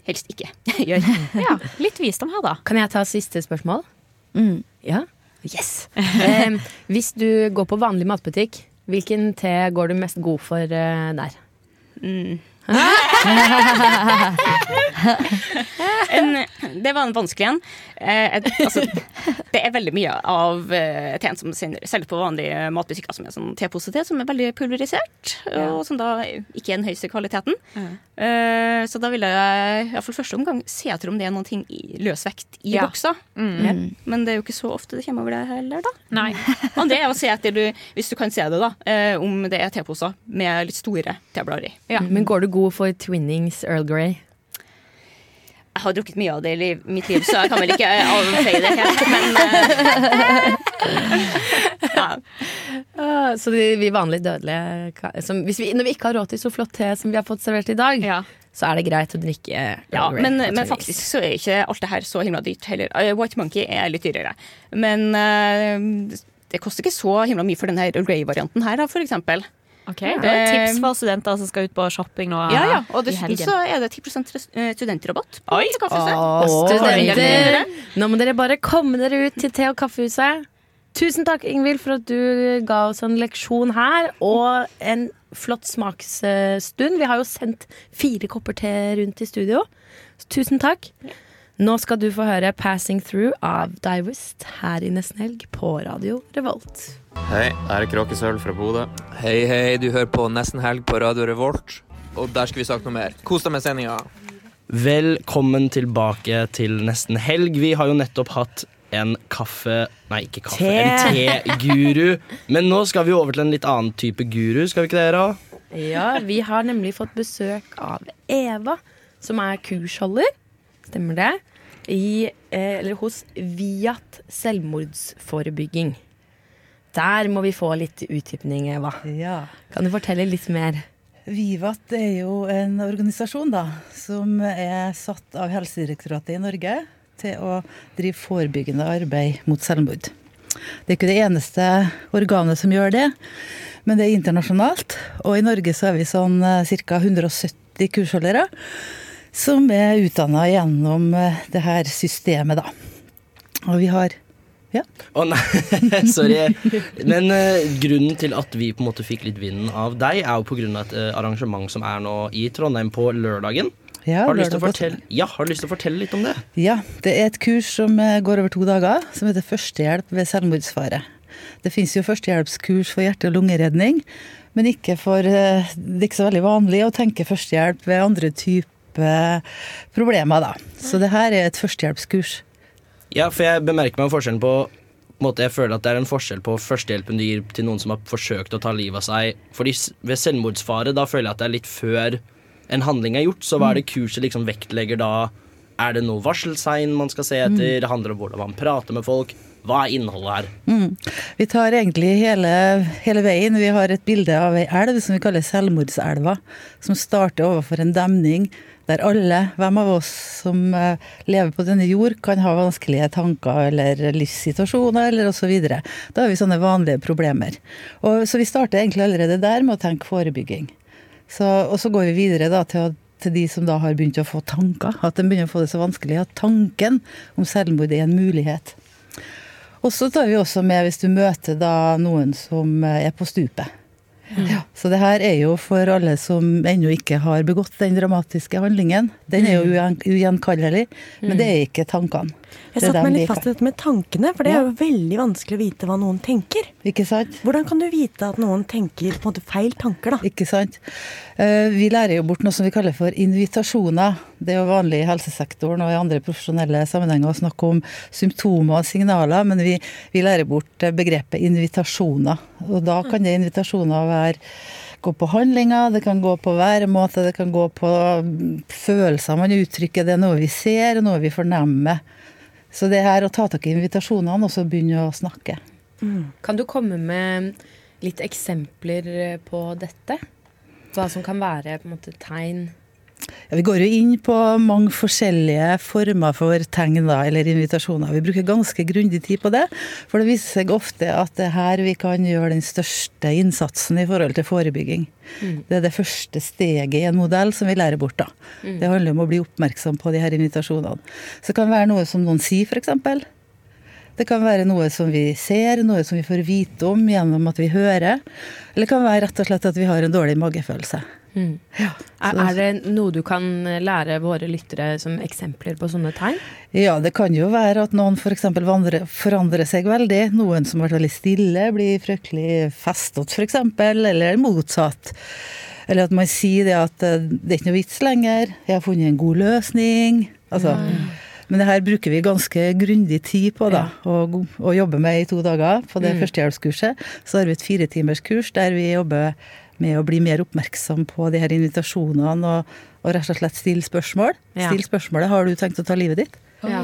helst ikke gjør.
Ja, litt visdom her, da.
Kan jeg ta siste spørsmål? Ja. Yes! Ehm, hvis du går på vanlig matbutikk, hvilken te går du mest god for eh, der? Mm.
en, det var en vanskelig en. Eh, et- altså, det er veldig mye av eh, teen som sin- selges på vanlige matbutikker som er sånn teposete, som er veldig pulverisert, og som da ikke er den høyeste kvaliteten. Eh, så da ville jeg i hvert fall første omgang se etter om det er noen ting i løsvekt i
Ja.
boksa.
Mm. Mm.
Men det er jo ikke så ofte det kommer over det heller, da.
Nei.
Men det er å se etter, du, hvis du kan se det, da, eh, om det er teposer med litt store teblader i.
Men går du god for twinnings Earl Grey?
Jeg har drukket mye av det i liv- mitt liv, så jeg kan vel ikke eh, avfeie det helt. Men eh,
Ah, Så de, vi vanlige dødelige ka- som, hvis vi, Når vi ikke har råd til så flott te som vi har fått servert i dag, så er det greit å drikke eh,
ja,
Earl Grey.
men,
på
men
twinnings.
faktisk så er ikke alt det her så himla dyrt heller. Eh, White Monkey er litt dyrere. Men eh, det koster ikke så himla mye for den her Earl Grey-varianten her, da, for eksempel.
Okay, det er ehm, et
Eh,
tips for studenter som skal ut på shopping nå
Ja, ja. Og
i
dessuten
helgen.
så er det 10 res- eh, studentrabatt. på
Oi.
dette kaffehuset.
Åh, studenter, nå må dere bare komme dere ut til te- og kaffehuset. Tusen takk, Ingvild, for at du ga oss en leksjon her, og en flott smaksstund. Vi har jo sendt fire kopper te rundt i studio. Så Tusen takk. Nå skal du få høre 'Passing Through' av Divest her i Nesten Helg på Radio Revolt.
Hei, her er Kråkesølv fra Bodø. Hei, hei, du hører på Nesten Helg på Radio Revolt, og der skal vi snakke noe mer. Kos deg med sendinga.
Velkommen tilbake til nesten helg. Vi har jo nettopp hatt en kaffe... Nei, ikke kaffe,
Te.
en te-guru. Men nå skal vi jo over til en litt annen type guru, skal vi ikke det, Ra?
Ja, vi har nemlig fått besøk av Eva, som er kursholder, stemmer det, i, eh, eller hos Viat selvmordsforebygging. Der må vi få litt utdypning, Eva. Kan du fortelle litt mer?
Vivat er jo en organisasjon da, som er satt av Helsedirektoratet i Norge til å drive forebyggende arbeid mot selvmord. Det er ikke det eneste organet som gjør det, men det er internasjonalt. Og i Norge så er vi sånn ca. 170 kursholdere som er utdanna gjennom eh, det her systemet, da. Og vi har Ja.
Å nei, sorry. Men eh, grunnen til at vi på en måte fikk litt vinden av deg, er jo på grunn av et eh, arrangement som er nå i Trondheim på lørdagen.
Ja,
har, du lyst til å
lørdag på
fortelle, ja, har du lyst til å fortelle litt om det?
Ja, det er et kurs som eh, går over to dager, som heter Førstehjelp ved selvmordsfare. Det finnes jo førstehjelpskurs for hjerte- og lungeredning, men ikke for eh, Det er ikke så veldig vanlig å tenke førstehjelp ved andre typer problemer, da. Så det her er et førstehjelpskurs.
Ja, for jeg bemerker meg forskjellen på på en måte, Jeg føler at det er en forskjell på førstehjelpen du gir til noen som har forsøkt å ta livet av seg. Fordi s- ved selvmordsfare, da føler jeg at det er litt før en handling er gjort. Så hva
Mm.
er det kurset liksom vektlegger da? Er det noe varseltegn man skal se etter? Det handler om hvordan man prater med folk. Hva er innholdet her?
Mm. Vi tar egentlig hele, hele veien. Vi har et bilde av ei elv som vi kaller Selvmordselva. Som starter overfor en demning der alle, hvem av oss som eh, lever på denne jord, kan ha vanskelige tanker eller livssituasjoner eller osv. Da har vi sånne vanlige problemer. Og, så vi starter egentlig allerede der med å tenke forebygging. Så, og så går vi videre da til, å- til de som da har begynt å få tanker. At de begynner å få det så vanskelig at tanken om selvmord er en mulighet. Og så tar vi også med hvis du møter da noen som eh, er på stupet. Ja, så det her er jo for alle som ennå ikke har begått den dramatiske handlingen. Den
Mm.
er jo ugjen- ugjenkallelig, men det er ikke tankene.
Jeg
Det er
satte
dem
meg
vi
litt fast i dette med tankene, for det er jo veldig vanskelig å vite hva noen tenker.
Ikke sant?
Hvordan kan du vite at noen tenker på en måte feil tanker, da?
Ikke sant. Eh, Vi lærer jo bort noe som vi kaller for invitasjoner. Det er jo vanlig i helsesektoren og i andre profesjonelle sammenhenger å snakke om symptomer og signaler, men vi, vi lærer bort eh, begrepet invitasjoner. Og da kan det invitasjoner være gå på handlinger, det kan gå på væremåte, det kan gå på mm, følelser man uttrykker. Det er noe vi ser, og noe vi fornemmer. Så det her å ta tak i invitasjonene og så begynne å snakke.
Kan du komme med litt eksempler eh, på dette? Hva som kan være på en måte tegn?
Ja, vi går jo inn på mange forskjellige former for tegn da, eller invitasjoner. Vi bruker ganske grundig tid på det, for det viser seg ofte at det er her vi kan gjøre den største innsatsen i forhold til forebygging.
Mm.
Det er det første steget i en modell som vi lærer bort. da.
Mm.
Det handler om å bli oppmerksom på de her invitasjonene. Så det kan være noe som noen sier, f.eks. Det kan være noe som vi ser, noe som vi får vite om gjennom at vi hører. Eller det kan være rett og slett at vi har en dårlig magefølelse.
Er, er det noe du kan eh, lære våre lyttere som eksempler på sånne tegn?
Ja, det kan jo være at noen f.eks. For forandrer seg veldig. Noen som har vært veldig stille, blir fryktelig festet f.eks., eller motsatt. Eller at man sier det at eh, det er ikke noe vits lenger, jeg har funnet en god løsning. Altså, Men det her bruker vi ganske grundig tid på, da. Og, og jobber med i to dager på det
Mm.
førstehjelpskurset. Så har vi et firetimerskurs der vi jobber med å bli mer oppmerksom på de her invitasjonene og, og rett og slett stille spørsmål.
Ja.
Still spørsmålet 'Har du tenkt å ta livet ditt?'
Ja.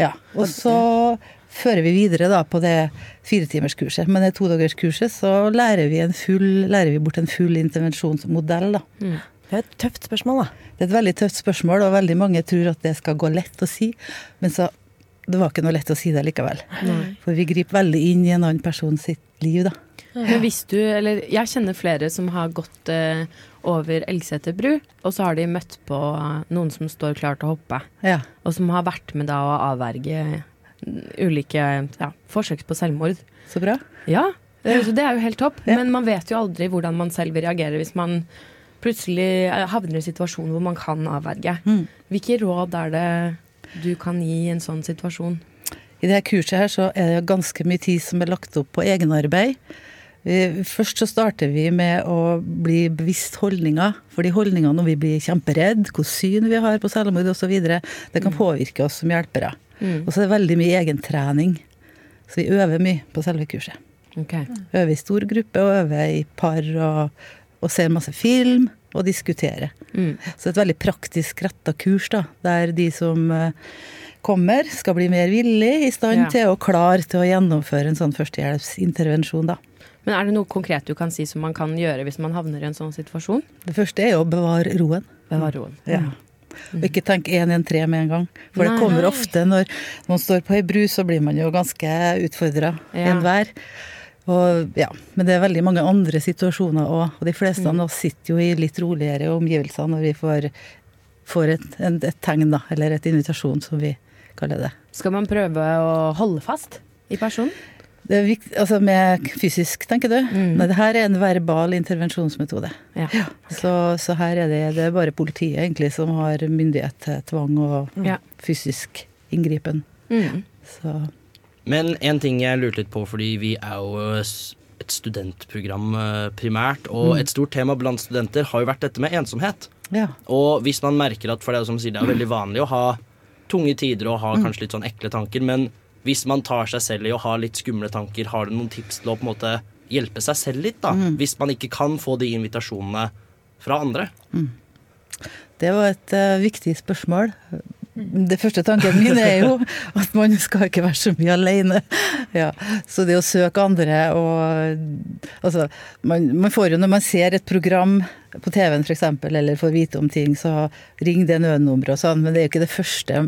Ja, og så fører vi videre da på det firetimerskurset. Men det todagerskurset så lærer vi, en full, lærer vi bort en full intervensjonsmodell, da.
Mm.
Det er et tøft spørsmål, da. Det er et veldig tøft spørsmål, og veldig mange tror at det skal gå lett å si. Men så det var ikke noe lett å si det likevel.
Nei.
For vi griper veldig inn i en annen person sitt liv, da.
Men hvis du, eller jeg kjenner flere som har gått eh, over Elgseter bru, og så har de møtt på noen som står klar til å hoppe.
Ja.
Og som har vært med da å avverge mm, ulike ja, forsøk på selvmord.
Så bra.
Ja, eh, så det er jo helt topp. Men man vet jo aldri hvordan man selv vil reagere hvis man plutselig eh, havner i en situasjon hvor man kan avverge.
Mm.
Hvilke råd er det du kan gi i en sånn situasjon?
I det her kurset her så er det ganske mye tid som er lagt opp på egenarbeid. Vi- Først så starter vi med å bli bevisst holdninger. Fordi holdninger når vi blir kjemperedd, hvilket syn vi har på selvmord osv., det kan påvirke oss som hjelpere.
Mm.
Og så er det veldig mye egentrening. Så vi øver mye på selve kurset.
Ok.
Øver i stor gruppe, og øver i par, og, og ser masse film, og diskuterer.
Mm.
Så et veldig praktisk retta kurs, da, der de som eh, kommer, skal bli mer villig i stand
Ja.
til og klar til å gjennomføre en sånn førstehjelpsintervensjon, da.
Men er det noe konkret du kan si som man kan gjøre hvis man havner i en sånn situasjon?
Det første er jo å bevare roen.
Bevare roen. Mm.
Ja. Og ikke tenk 113 med en gang. For
Nei.
det kommer ofte når man står på ei bru, så blir man jo ganske utfordra.
Ja.
Enhver. Og, ja. Men det er veldig mange andre situasjoner òg. Og de fleste av
Mm.
oss sitter jo i litt roligere omgivelser når vi får, får et, en, et tegn, da. Eller et invitasjon, som vi kaller det.
Skal man prøve å holde fast i personen?
Det er vikt, altså med fysisk, tenker du?
Mm.
Nei, det her er en verbal intervensjonsmetode.
Ja.
Så, så her er det, det er bare politiet egentlig som har myndighet til tvang og
Ja.
fysisk inngripen. Så
Men en ting jeg lurte litt på, fordi vi er jo eh, s- et studentprogram eh, primært, og
Mm.
et stort tema blant studenter har jo vært dette med ensomhet.
ja.
Og hvis man merker at, for det er jo som du sier, det er veldig vanlig å ha tunge tider og ha
Mm.
kanskje litt sånn ekle tanker, men hvis man tar seg selv i å ha litt skumle tanker, har du noen tips til å på en måte hjelpe seg selv litt, da?
Mm.
Hvis man ikke kan få de invitasjonene fra andre?
Det var et eh, viktig spørsmål. Det første tanken min er jo at man skal ikke være så mye alene. Ja, så det å søke andre og Altså, man, man får jo når man ser et program på TV-en f.eks., eller får vite om ting, så ring det nødnummeret og sånn, men det er jo ikke det første.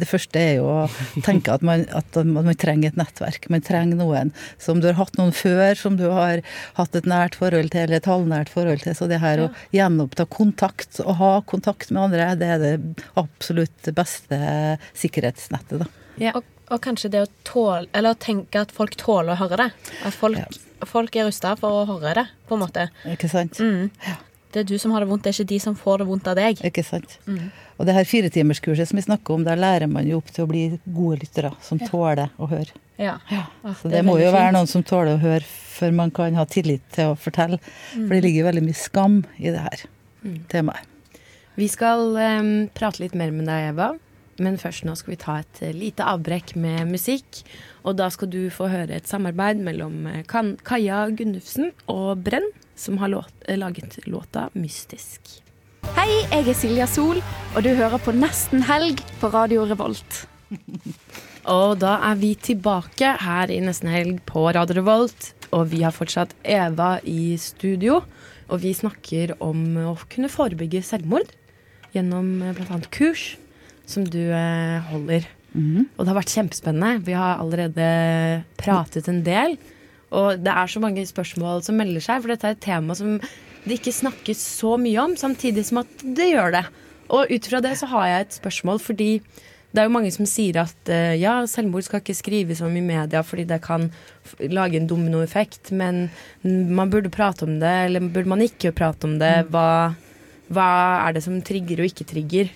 Det første er jo å tenke at man, at man trenger et nettverk. Man trenger noen som du har hatt noen før, som du har hatt et nært forhold til, eller et halvnært forhold til. Så det her å gjenoppta kontakt, å ha kontakt med andre, det er det absolutt beste sikkerhetsnettet, da.
Og, og kanskje det å tåle Eller å tenke at folk tåler å høre det. At folk, folk er rusta for å høre det, på en måte.
Ikke sant?
Mm. Det er du som har det vondt, det er ikke de som får det vondt av deg.
Ikke sant.
Mm.
Og det her firetimerskurset som vi snakker om, der lærer man jo opp til å bli gode lyttere som
Ja.
tåler å høre.
Ja. Ah,
Så
er
det må
veldig
jo være
fint.
noen som tåler å høre før man kan ha tillit til å fortelle. For
Mm.
det ligger jo veldig mye skam i det her
Mm.
temaet.
Vi skal em, prate litt mer med deg, Eva. Men først nå skal vi ta et eh, lite avbrekk med musikk. Og da skal du få høre et samarbeid mellom eh, kan Kaja Gunnufsen og Brenn, som har låt, eh, laget låta 'Mystisk'.
Hei, jeg er Silja Sol, og du hører på Nesten helg på Radio Revolt.
Og da er vi tilbake her i Nesten Helg på Radio Revolt. Og vi har fortsatt Eva i studio. Og vi snakker om å kunne forebygge selvmord gjennom bl.a. kurs som du eh, holder. Og det har vært kjempespennende. Vi har allerede pratet en del. Og det er så mange spørsmål som melder seg, for dette er et tema som det ikke snakkes så mye om, samtidig som at det gjør det. Og ut fra det så har jeg et spørsmål, fordi det er jo mange som sier at eh, ja, selvmord skal ikke skrives om i media fordi det kan f- lage en dominoeffekt, men man burde prate om det, eller burde man ikke prate om det? Hva, hva er det som trigger og ikke trigger?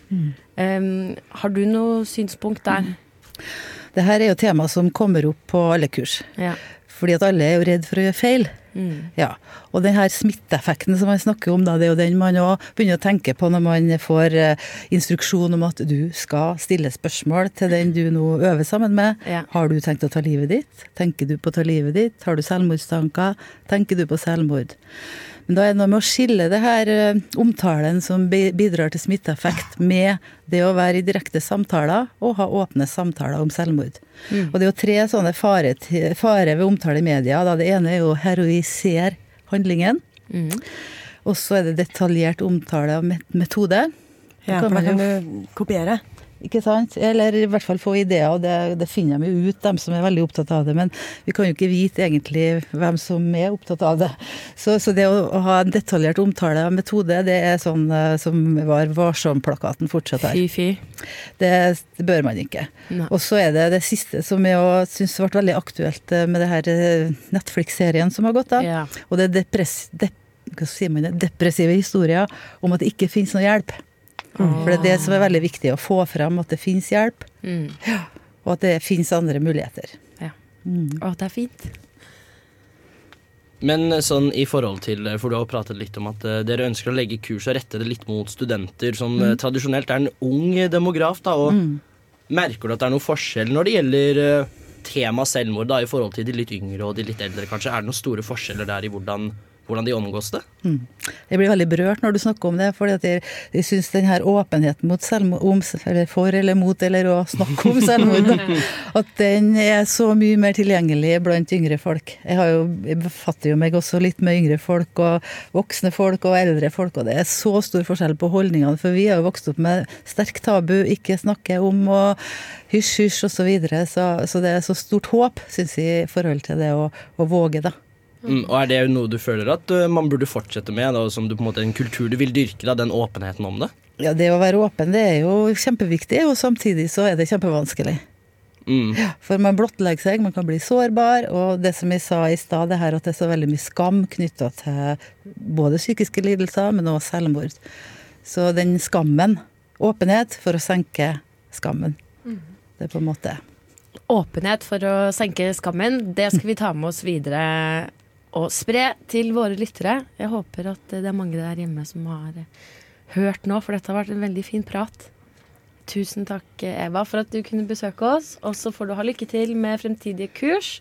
Eh, har du noe synspunkt der?
Det her er jo tema som kommer opp på alle kurs.
Ja.
Fordi at alle er jo redd for å gjøre feil.
Mm.
Ja, og den her smitteeffekten som man snakker om, da, det er jo den man òg begynner å tenke på når man får eh, instruksjon om at du skal stille spørsmål til den du nå øver sammen med.
Ja.
Har du tenkt å ta livet ditt? Tenker du på å ta livet ditt? Har du selvmordstanker? Tenker du på selvmord? Men da er det noe med å skille det her eh, omtalen som bi- bidrar til smitteeffekt, med det å være i direkte samtaler og ha åpne samtaler om selvmord.
Mm.
Og det er jo tre sånne farer fare ved omtale i media. Da. Det ene er jo å heroisere handlingen.
Mm.
Og så er det detaljert omtale av met- metode.
Ja, for da kan
du kopiere. Ikke sant? Eller i hvert fall få ideer, og det, det finner de jo ut, dem som er veldig opptatt av det. Men vi kan jo ikke vite egentlig hvem som er opptatt av det. Så, så det å, å ha en detaljert omtale av metode, det er sånn eh, som var Varsom-plakaten fortsatt her.
Fy, fy.
Det, det bør man ikke.
Nei.
Og så er det det siste som jeg syns ble veldig aktuelt eh, med det her eh, Netflix-serien som har gått, da. Og det er depress, dep, hva sier man, det? depressive historier om at det ikke finnes noe hjelp.
Mm.
For det er det som er veldig viktig å få fram, at det finnes hjelp,
Mm.
og at det finnes andre muligheter. Mm.
Ja. Å, det er fint.
Men sånn i forhold til, for du har jo pratet litt om at eh, dere ønsker å legge kurs og rette det litt mot studenter, som
Mm.
eh, tradisjonelt er en ung eh, demograf, da, og merker du at det er noe forskjell når det gjelder eh, tema selvmord, da, i forhold til de litt yngre og de litt eldre, kanskje? Er det noen store forskjeller der i hvordan, hvordan de omgås det?
Mm. Jeg blir veldig berørt når du snakker om det, for jeg, jeg syns den her åpenheten mot selvmord, om, eller for eller mot, eller å snakke om selvmord, da, at den er så mye mer tilgjengelig blant yngre folk. Jeg, har jo, jeg befatter jo meg også litt med yngre folk, og voksne folk og eldre folk, og det er så stor forskjell på holdningene, for vi har jo vokst opp med sterk tabu, ikke snakke om, og hysj, hysj, osv. Så, videre. så så det er så stort håp, syns jeg, i forhold til det å, å våge, da.
Mm. Og er det noe du føler at eh, man burde fortsette med, da, som du på en måte en kultur du vil dyrke, da, den åpenheten om det?
Ja, det å være åpen, det er jo kjempeviktig, og samtidig så er det kjempevanskelig.
Mm.
For man blottlegger seg, man kan bli sårbar, og det som jeg sa i stad, det her at det er så veldig mye skam knytta til både psykiske lidelser, men også selvmord. Så den skammen Åpenhet for å senke skammen. Det er på en måte
Åpenhet for å senke skammen, det skal vi ta med oss videre og spre til våre lyttere. Jeg håper at det er mange der hjemme som har hørt nå, for dette har vært en veldig fin prat. Tusen takk, Eva, for at du kunne besøke oss. Og så får du ha lykke til med fremtidige kurs.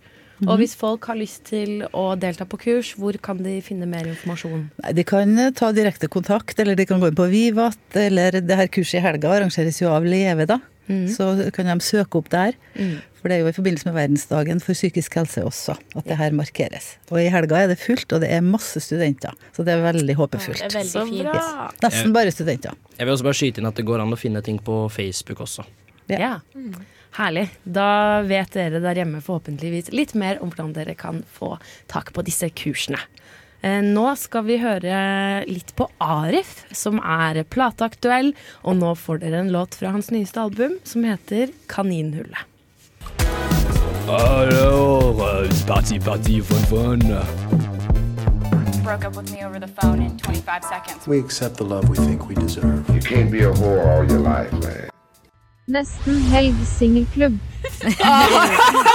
Og hvis folk har lyst til å delta på kurs, hvor kan de finne mer informasjon?
Nei, De kan eh, ta direkte kontakt, eller de kan gå inn på Vivat, eller det her kurset i helga arrangeres jo av Leve, da. Så kan de søke opp der.
Mm.
For det er jo i forbindelse med verdensdagen for psykisk helse også, at det her markeres. Og i helga er det fullt, og det er masse studenter. Så det er veldig håpefullt.
Det er veldig Så fint. bra.
Yes. Nesten bare studenter.
Jeg vil også bare skyte inn at det går an å finne ting på Facebook også.
Ja.
Mm.
Herlig. Da vet dere der hjemme forhåpentligvis litt mer om hvordan dere kan få tak på disse kursene. Eh, Nå skal vi høre litt på Arif, som er plateaktuell. Og nå får dere en låt fra hans nyeste album, som heter 'Kaninhullet'.
Alors, euh, c'est parti, parti, fun, fun.
broke up with me over the phone in 25 seconds.
We accept the love we think we deserve. You can't be a whore all your life, man.
Nesten helg singelklubb.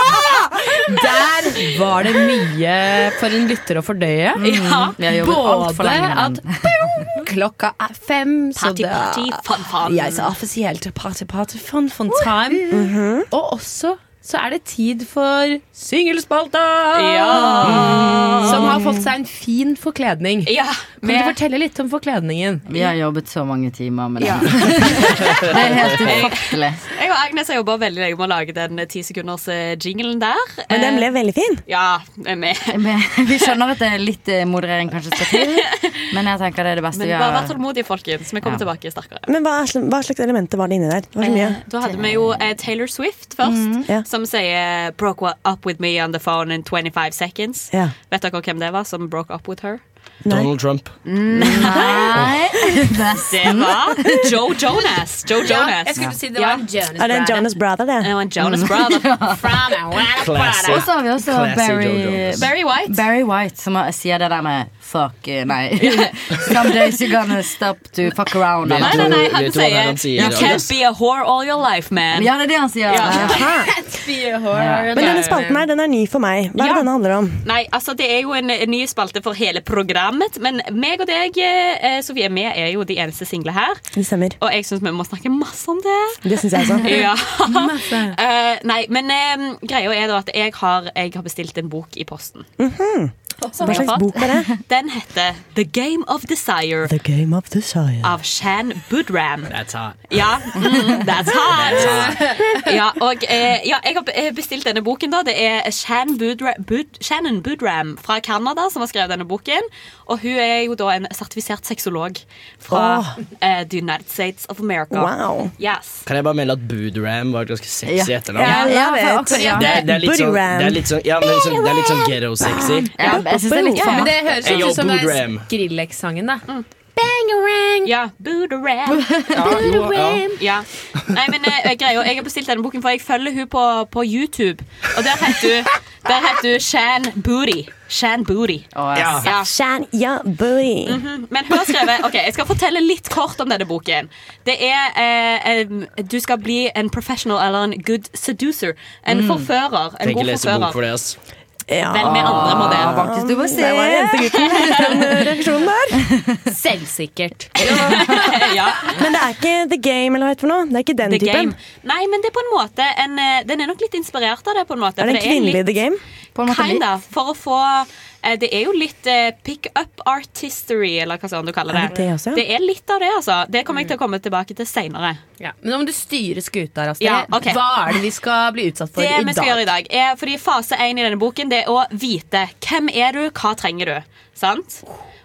Der var det mye for en lytter å fordøye.
Ja,
jeg jobber alt for lenge med den. Klokka er fem,
Party,
så da
party, fun, fun.
Jeg sa offisielt party, party, fun, fun time.
Mhm.
Og også så er det tid for singelspalta! Mm.
Ja.
Som har fått seg en fin forkledning. Kan
med-
du fortelle litt om forkledningen?
Vi har jobbet så mange timer med det.
Ja.
det er helt ufattelig.
Jeg og Agnes har jobba veldig lenge med å lage den ti sekunders eh, jinglen der.
Men den ble
veldig fin. Ja, med.
Vi skjønner at det er litt eh, moderering kanskje skal til, men jeg tenker det er det beste
Men
vi
bare
har.
vær tålmodige, folkens. Vi kommer tilbake sterkere.
Men hva, sl- hva slags elementer var det inni der? Det var så mye.
Eh, Da hadde vi jo eh, Taylor Swift først, som sier eh, 'broke wa- up with me on the phone in 25 seconds'.
Ja.
Vet dere hvem det var som broke up with her?
Donald Trump.
Nei, det var Joe Jonas. Joe
Ja,
Jonas.
jeg skulle si det
Ja.
var en Jonas
Er det en
Brother.
Jonas Brother, det?
Det var en Jonas Brother. Frana, wada,
Classy.
frana.
Og så har vi også
Classy
Barry,
Joe Jonas. Barry White.
Barry White, som har- sier det der med fuck eh, Nei. Some days you're gonna stop to fuck around.
Nei, nei, nei, han
Vet du hva det er
sier
han sier,
You can't
Agnes?
be a whore all your life, man.
Ja, det er det han sier.
Ja.
Men denne spalten her, den er ny for meg. Hva er det denne handler om?
Nei, altså Det er jo en, en ny spalte for hele programmet. Men meg og deg, eh, Sofie, vi er jo de eneste single her.
Det stemmer.
Og jeg syns vi må snakke masse om det.
Det syns jeg også.
ja.
Mhm.
Eh, nei, men eh, greia er da at jeg har, jeg har bestilt en bok i posten. som
Hva
jeg har
slags bok er
fått. Den heter The Game of Desire
The game of desire.
av Shan Budram.
That's hot.
Ja, mm, that's
That's
hot! ja, og eh, ja, jeg har eh, bestilt denne boken. da Det er Shan Budra, Bud, Shannon Budram fra Canada som har skrevet denne boken. Og hun er jo da en sertifisert sexolog fra
Åh.
eh, The United States of America.
Wow.
Yes.
Kan jeg bare melde at Boodram var et ganske sexy
Ja.
etternavn?
Ja, jeg vet.
Det, det er litt sånn, det er litt sånn, ja, men det er sånn, det er litt sånn ghetto-sexy.
Ja, jeg synes det er litt
Ja, men
faen.
det høres
Hey,
jo
yo,
ut som det er
Boodram.
Skrillex-sangen, da.
Bangarang! Ja. Booderang. Booderang. Ja. Nei, men eh, greia, jeg har bestilt denne boken, for jeg følger hun på, på YouTube. Og der heter hun, der heter hun Shan Booty. Shan Booty.
Ja. Shan ya booty.
Mhm. Men hun har skrevet Ok, jeg skal fortelle litt kort om denne boken. Det er eh, em, Du skal bli en professional eller en good seducer. En
Mm.
forfører. En
Trenger ikke
god
lese bok
forfører.
for det, ass.
Vel, vi andre må det.
Markus, du må se.
Der var det eneste gutten. Den eh, reaksjonen der.
Selvsikkert.
Men det er ikke The Game eller hva heter det for noe? Det er ikke den
The
typen?
Game. Nei, men det er på en måte en, eh, Den er nok litt inspirert av det. på en måte
Er det
for
en
litt-
kvinnelig The Game?
Kinda, for å få eh, Det er jo litt eh, pick up artistry, eller hva sånn du kaller det.
Er det det også?
er litt av det, altså. Det kommer jeg til å komme tilbake til seinere.
Ja. Men om du styrer skuta, Astrid,
Ja, ok.
hva er det vi skal bli utsatt for
Det
i dag?
vi skal gjøre i dag er, fordi Fase én i denne boken det er å vite hvem er du, hva trenger du. Sant?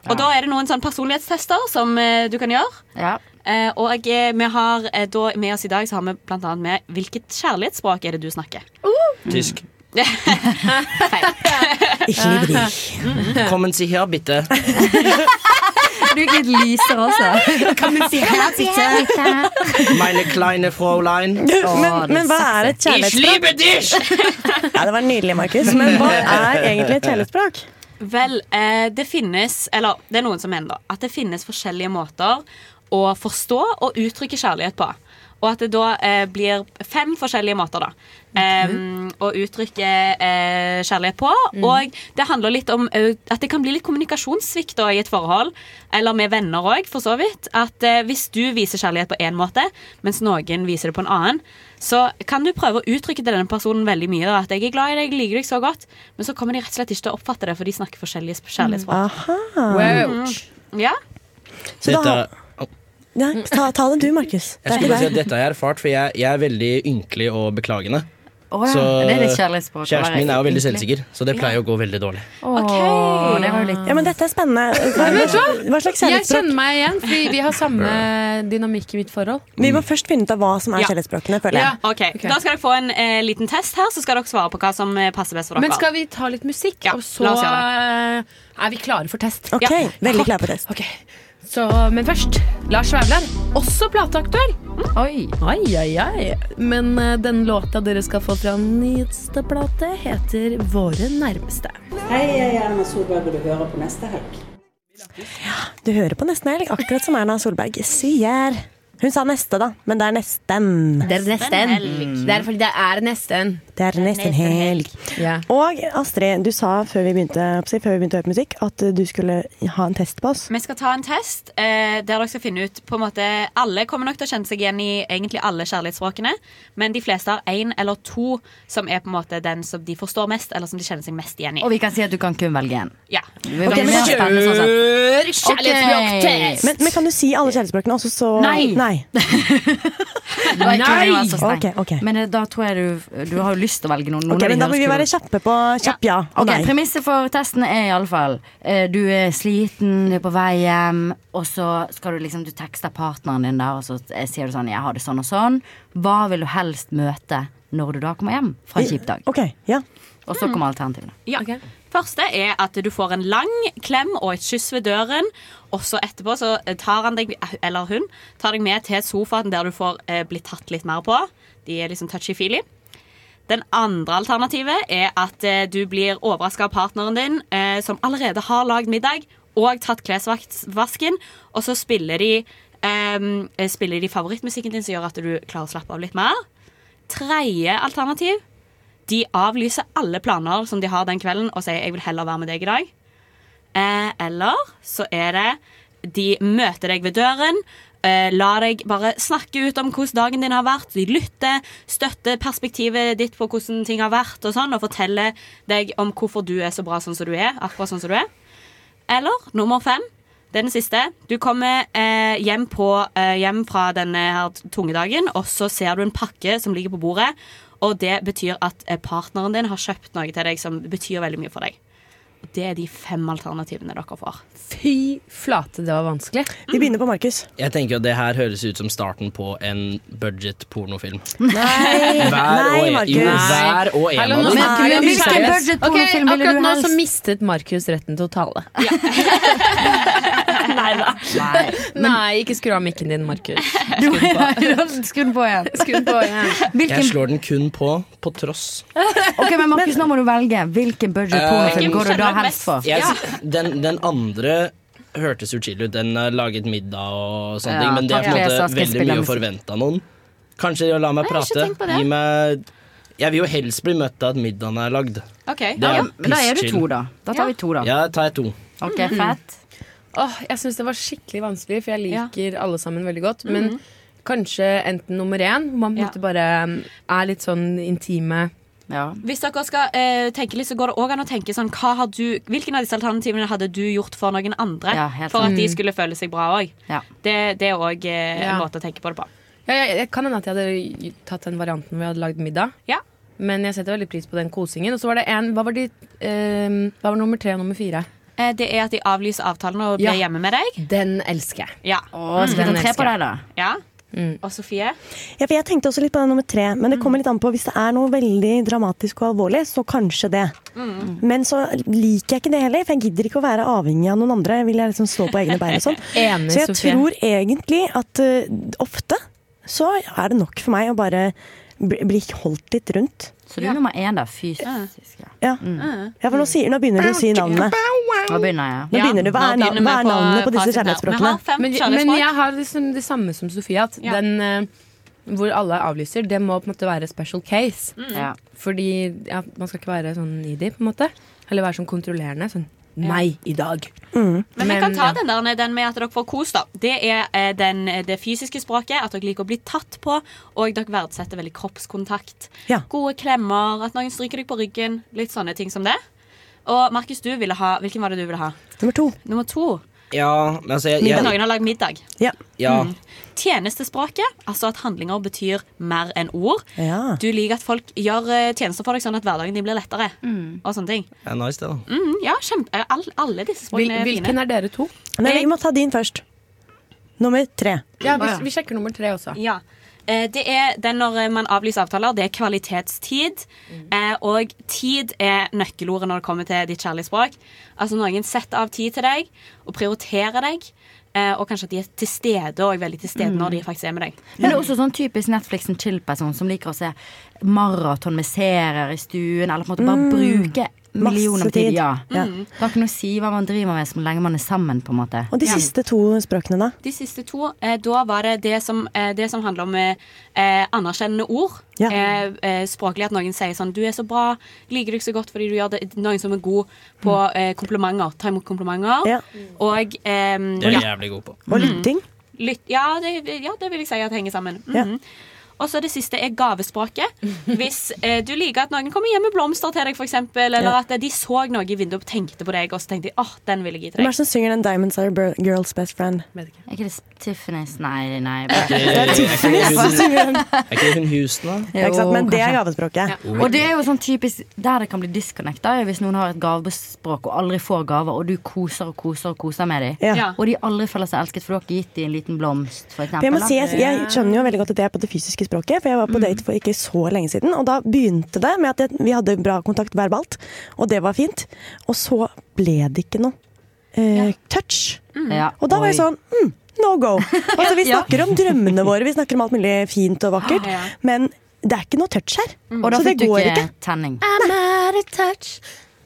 Og Da er det noen sånn personlighetstester som eh, du kan gjøre. Eh, og eh, vi har eh, da med oss i dag så har vi blant annet med hvilket kjærlighetsspråk er det du snakker.
Tysk.
Ikke
Kom og si her, bitte.
Du er litt lysere også.
Kan du si her, bitte?
Meine kleine Fräulein.
Men, men hva er et kjærlighetsspråk? Ja, det var nydelig, Markus. Men hva er egentlig et kjærlighetsspråk?
Vel, eh, det finnes Eller det er noen som mener da, at det finnes forskjellige måter å forstå og uttrykke kjærlighet på. Og at det da eh, blir fem forskjellige måter da eh, å uttrykke eh, kjærlighet på.
Mm.
Mhm.
Og det handler litt om eh, at det kan bli litt kommunikasjonssvikt da, i et forhold. Eller med venner òg, for så vidt. At eh, hvis du viser kjærlighet på én måte, mens noen viser det på en annen, så kan du prøve å uttrykke til denne personen veldig mye. Da, at jeg er glad i deg, jeg liker deg så godt. Men så kommer de rett og slett ikke til å oppfatte det, for de snakker forskjellige sp-
Mm.
kjærlighetsspråk.
Wow.
Mhm. Ja.
Så da-
Dette-
Nei, ta, ta det du, Markus.
Jeg
Det
skulle
er
bare si
ikke
at
deg.
Dette har jeg erfart, for jeg, jeg er veldig ynkelig og beklagende.
Å ja, det er litt kjærlighetsspråk å være
kjæresten min er jo veldig
ynkelig.
selvsikker, så det pleier å gå veldig dårlig.
Åh, det var jo litt
Ja, men dette er spennende.
Nei,
Hva,
vet du hva?
hva slags
Jeg kjenner
kjærlighetsspråk?
meg igjen, fordi vi har samme dynamikk i mitt forhold.
Vi må først finne ut av hva som er
Ja.
kjærlighetsspråkene, føler jeg.
Ok, Da skal dere få en eh, liten test her, så skal dere svare på hva som eh, passer best for dere.
Men skal vi ta litt musikk, og så
la oss
eh, er vi klare for test?
Ok, veldig klare på test.
Ok, så, Men først, Lars Vaular, også plateaktuell.
Oi.
Ai, ai, ai. Men eh, den låta dere skal få fra nyeste plate, heter Våre nærmeste.
Hei, jeg er Erna Solberg, og du hører på neste helg.
Du hører på Nesten Helg, akkurat som Erna Solberg sier. Hun sa neste, da, men det er nesten.
Det er nesten. Det er fordi det er nesten.
Det er nesten helg. Og Astrid, du sa før vi begynte, oppsi, før vi begynte å høre på musikk, at du skulle ha en test på oss.
Vi skal ta en test eh, der dere skal finne ut på en måte, Alle kommer nok til å kjenne seg igjen i egentlig alle kjærlighetsspråkene, men de fleste har én eller to som er på en måte den som de forstår mest, eller som de kjenner seg mest igjen i.
Og vi kan si at du kan kun velge én.
Ja.
Vi kan gjøre spennende sånn sett. Ok.
Men, men kan du si alle kjærlighetsspråkene også, så
Nei. Det var ikke
Nei!
det var så sterkt.
Ok, ok.
Men eh, da tror jeg du Du har jo lyst til å velge noen. noen
Ok,
av de
men da må
høres
vi
kule
være
ut.
kjappe på kjapp ja og
Ok,
nei.
Premisset for testen er iallfall eh, Du er sliten, du er på vei hjem, og så skal du liksom Du tekster partneren din der, og så eh, sier du sånn 'Jeg har det sånn og sånn'. Hva vil du helst møte når du da kommer hjem fra en kjip dag?
Ok, ja
Og så kommer alternativene.
Ja. Første er at du får en lang klem og et kyss ved døren. Og så etterpå så tar han deg, eller hun, tar deg med til sofaen der du får eh, blitt tatt litt mer på. De er liksom touchy-feely. Den andre alternativet er at eh, du blir overraska av partneren din, eh, som allerede har lagd middag og tatt klesvasken, og så spiller de, eh, spiller de favorittmusikken din, som gjør at du klarer å slappe av litt mer. Tredje alternativ de avlyser alle planer som de har den kvelden, og sier 'jeg vil heller være med deg i dag'. Eh, eller så er det de møter deg ved døren, eh, lar deg bare snakke ut om hvordan dagen din har vært. De lytter, støtter perspektivet ditt på hvordan ting har vært, og sånn, og forteller deg om hvorfor du er så bra sånn som du er. akkurat sånn som du er. Eller nummer fem. Det er den siste. Du kommer eh, hjem, på, eh, hjem fra denne her tungedagen, og så ser du en pakke som ligger på bordet. Og det betyr at eh, partneren din har kjøpt noe til deg som betyr veldig mye for deg. Og det er de fem alternativene dere får. Mm.
Fy flate, det var vanskelig.
Vi begynner på Markus.
Jeg tenker jo det her høres ut som starten på en budget pornofilm.
Nei,
Hver og en-
Markus.
jo, hver og en
Hallo,
av
nå
dem.
snakker vi om
Hvilken
seriøs.
budget
Ok,
pornofilm ville du
Akkurat nå så
helst?
mistet Markus retten til å tale.
Nei da.
Nei, ikke skru av mikken din, Markus. Skru den
Skru den
på.
på igjen.
Skru den på igjen.
Jeg
Hvilken,
slår den kun på på tross.
ok, men Markus, nå må du velge. Hvilken budget
Eh,
pornofilm går du da helst for?
Jeg s- den, den andre hørtes jo chill ut. Den er laget middag og sånne
Ja,
ting, men det er på
takk.
en
Lesa
måte
skal
veldig
spille
mye å
musikk.
forvente av noen. Kanskje la meg
Nei, jeg har ikke
prate.
tenkt på det.
Gi meg Jeg vil jo helst bli møtt av at middagen er lagd.
Ok.
Det er
Ja,
men da er det
pischill.
to, da. Da tar vi to, da.
Ja, tar jeg to.
Ok, fett.
Mhm. Åh, jeg syns det var skikkelig vanskelig, for jeg liker alle sammen veldig godt. Men
Mhm.
kanskje enten nummer én, hvor man på en måte bare mm, er litt sånn intime.
Hvis dere skal eh, tenke litt, så går det også an å tenke sånn hva har du, Hvilken av disse alternativene hadde du gjort for noen andre?
Ja, helt
for
sant.
at de
Mm.
skulle føle seg bra òg. Det, det er òg eh,
Ja.
en måte å tenke på det på.
Ja, jeg, jeg kan hende at jeg hadde tatt den varianten hvor jeg hadde lagd middag. Men jeg setter veldig pris på den kosingen. Og så var det en Hva var, de, eh, hva var nummer tre og nummer fire?
Eh, det er at de avlyser avtalen og blir
Ja.
hjemme med deg.
Den elsker jeg.
Ja.
Å, skal vi ta
Den
tre
elsker
på
jeg.
deg, da?
Ja.
Mm.
Og Sofie?
Ja, for jeg tenkte også litt på den nummer tre, men det kommer litt an på. Hvis det er noe veldig dramatisk og alvorlig, så kanskje det.
Mm.
Men så liker jeg ikke det heller, for jeg gidder ikke å være avhengig av noen andre. Vil jeg liksom stå på egne bein og sånn.
Enig,
Så jeg
Sofie.
tror egentlig at eh, ofte så er det nok for meg å bare bli bli holdt litt rundt.
Så du er nummer én, da. Fysisk.
Ja. ja, for nå, sier, nå begynner du å si navnene.
Nå begynner jeg.
Nå begynner du. Hva er, nav hva er navnene på disse kjærlighetsspråkene?
Men, men jeg har liksom det samme som Sofie. At den eh, hvor alle avlyser, det må på en måte være special case.
Mm. Ja.
Fordi ja, man skal ikke være sånn needy, på en måte. Eller være sånn kontrollerende. Sånn nei i dag.
Mm.
Men vi kan ta
ja.
den, der, den med at dere får kos, da. Det er eh, den, det fysiske språket, at dere liker å bli tatt på, og dere verdsetter veldig kroppskontakt. Gode klemmer, at noen stryker deg på ryggen, litt sånne ting som det. Og Markus, du ville ha, hvilken var det du ville ha?
Nummer to.
Nummer to.
Ja, men altså jeg,
Middag,
jeg,
noen har lagd middag.
ja.
ja.
Mm. Tjenestespråket, altså at handlinger betyr mer enn ord.
Ah.
Ja.
Du liker at folk gjør eh, tjenester for deg sånn at hverdagen din blir lettere. Og sånne ting.
Ja, nice, det, da.
Mm, ja, kjempe, eh, all, alle disse språkene
Hvil- hvilken
fine.
er dere to?
Nei, vi må ta din først. Nummer tre.
Ja, vi, vi sjekker nummer tre også.
Ja. Eh, Det er den når eh, man avlyser avtaler, det er kvalitetstid.
Mm.
Eh, Og tid er nøkkelordet når det kommer til ditt kjærlige språk. Altså noen setter av tid til deg og prioriterer deg. eh, Og kanskje at de er til stede og veldig til stede
Mm.
når de faktisk er med deg.
Men det er også sånn typisk Netflix en chill-person som liker å se maraton med serier i stuen, eller på en måte bare
Mm.
bruke
Masse
millioner på tid.
tid.
Ja.
Ja.
Mm. Det har ikke noe å si hva man driver med så lenge man er sammen, på en måte.
Og de siste to språkene, da?
De siste to, eh, da var det det som, eh, det som handler om eh, eh, anerkjennende ord. Eh, eh, språklig at noen sier sånn 'Du er så bra. Liker deg så godt fordi du gjør det.' Noen som er god på eh, komplimenter. Ta imot komplimenter. Og eh,
Det er jeg
ja.
jævlig god på.
Og lytting.
Lytt, ja, det, ja, det vil jeg si at henger sammen. Mhm. Og så det siste er gavespråket. Hvis eh, du liker at noen kommer hjem med blomster til deg, for eksempel, eller
Ja.
at de så noe i vinduet og tenkte på deg, og så tenkte de 'Å, den vil jeg gi til
Hvem er
deg'.
det som synger den 'Diamonds Are Bir- Girls Best Friend'?
Er ikke det Tiffany's? Nei, nei.
er Tiffany's som synger Er ikke det hun Houston, da?
Ja, ikke sant? Men det er
kanskje.
gavespråket.
Og det er jo sånn typisk der det kan bli disconnect. Da, er hvis noen har et gavespråk og aldri får gaver, og du koser og koser og koser med dem,
Ja. Ja.
og de aldri føler seg elsket, for du har ikke gitt dem en liten blomst, for
For
eksempel.
Jeg, må
da.
si, jeg, jeg skjønner jo veldig godt at det er på det fysiske språket, for jeg var
Mm.
på date for ikke så lenge siden. Og da begynte det med at jeg, vi hadde bra kontakt verbalt, og det var fint. Og så ble det ikke noe eh, touch.
Mm. Ja.
Og da var jeg
Oi.
sånn mm, no go. Altså, vi
Ja.
snakker om drømmene våre, vi snakker om alt mulig fint og vakkert,
Ja. Mm.
men det er ikke noe touch her.
Og da
Så det
fikk du
går
ikke
ikke.
tenning.
I'm
out of touch.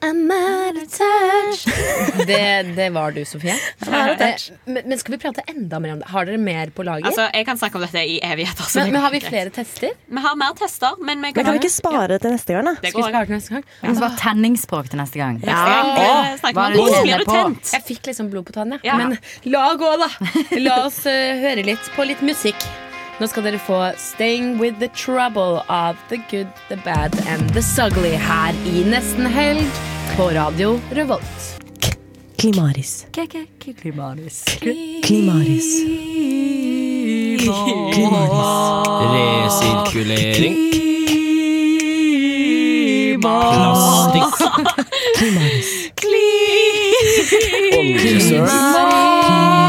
I'm out of touch.
Det, det var du, Sofie.
Ja, det er
Eh, Men, men skal vi prate enda mer om det? Har dere mer på lager?
Altså, jeg kan snakke om dette i evigheter.
altså
så
men,
det
men
går
har vi
greit.
flere tester?
Vi har mer tester, men vi
Men kan vi ikke spare til neste gang, da?
Det går an.
Vi må ha tenningsspråk til neste gang.
Ja.
Ah. Hva er det du kjenner på?
Jeg fikk liksom blod på tann, ja.
Ja.
Men la gå, da. La oss eh, høre litt på litt musikk. Nå skal dere få 'Staying With The Trouble' av The Good, The Bad and The Sugly her i nesten helg på Radio Revolt.
Klimaris.
Klimaris.
Klimaris.
Resirkulering.
Plastikk.
Oljesøl.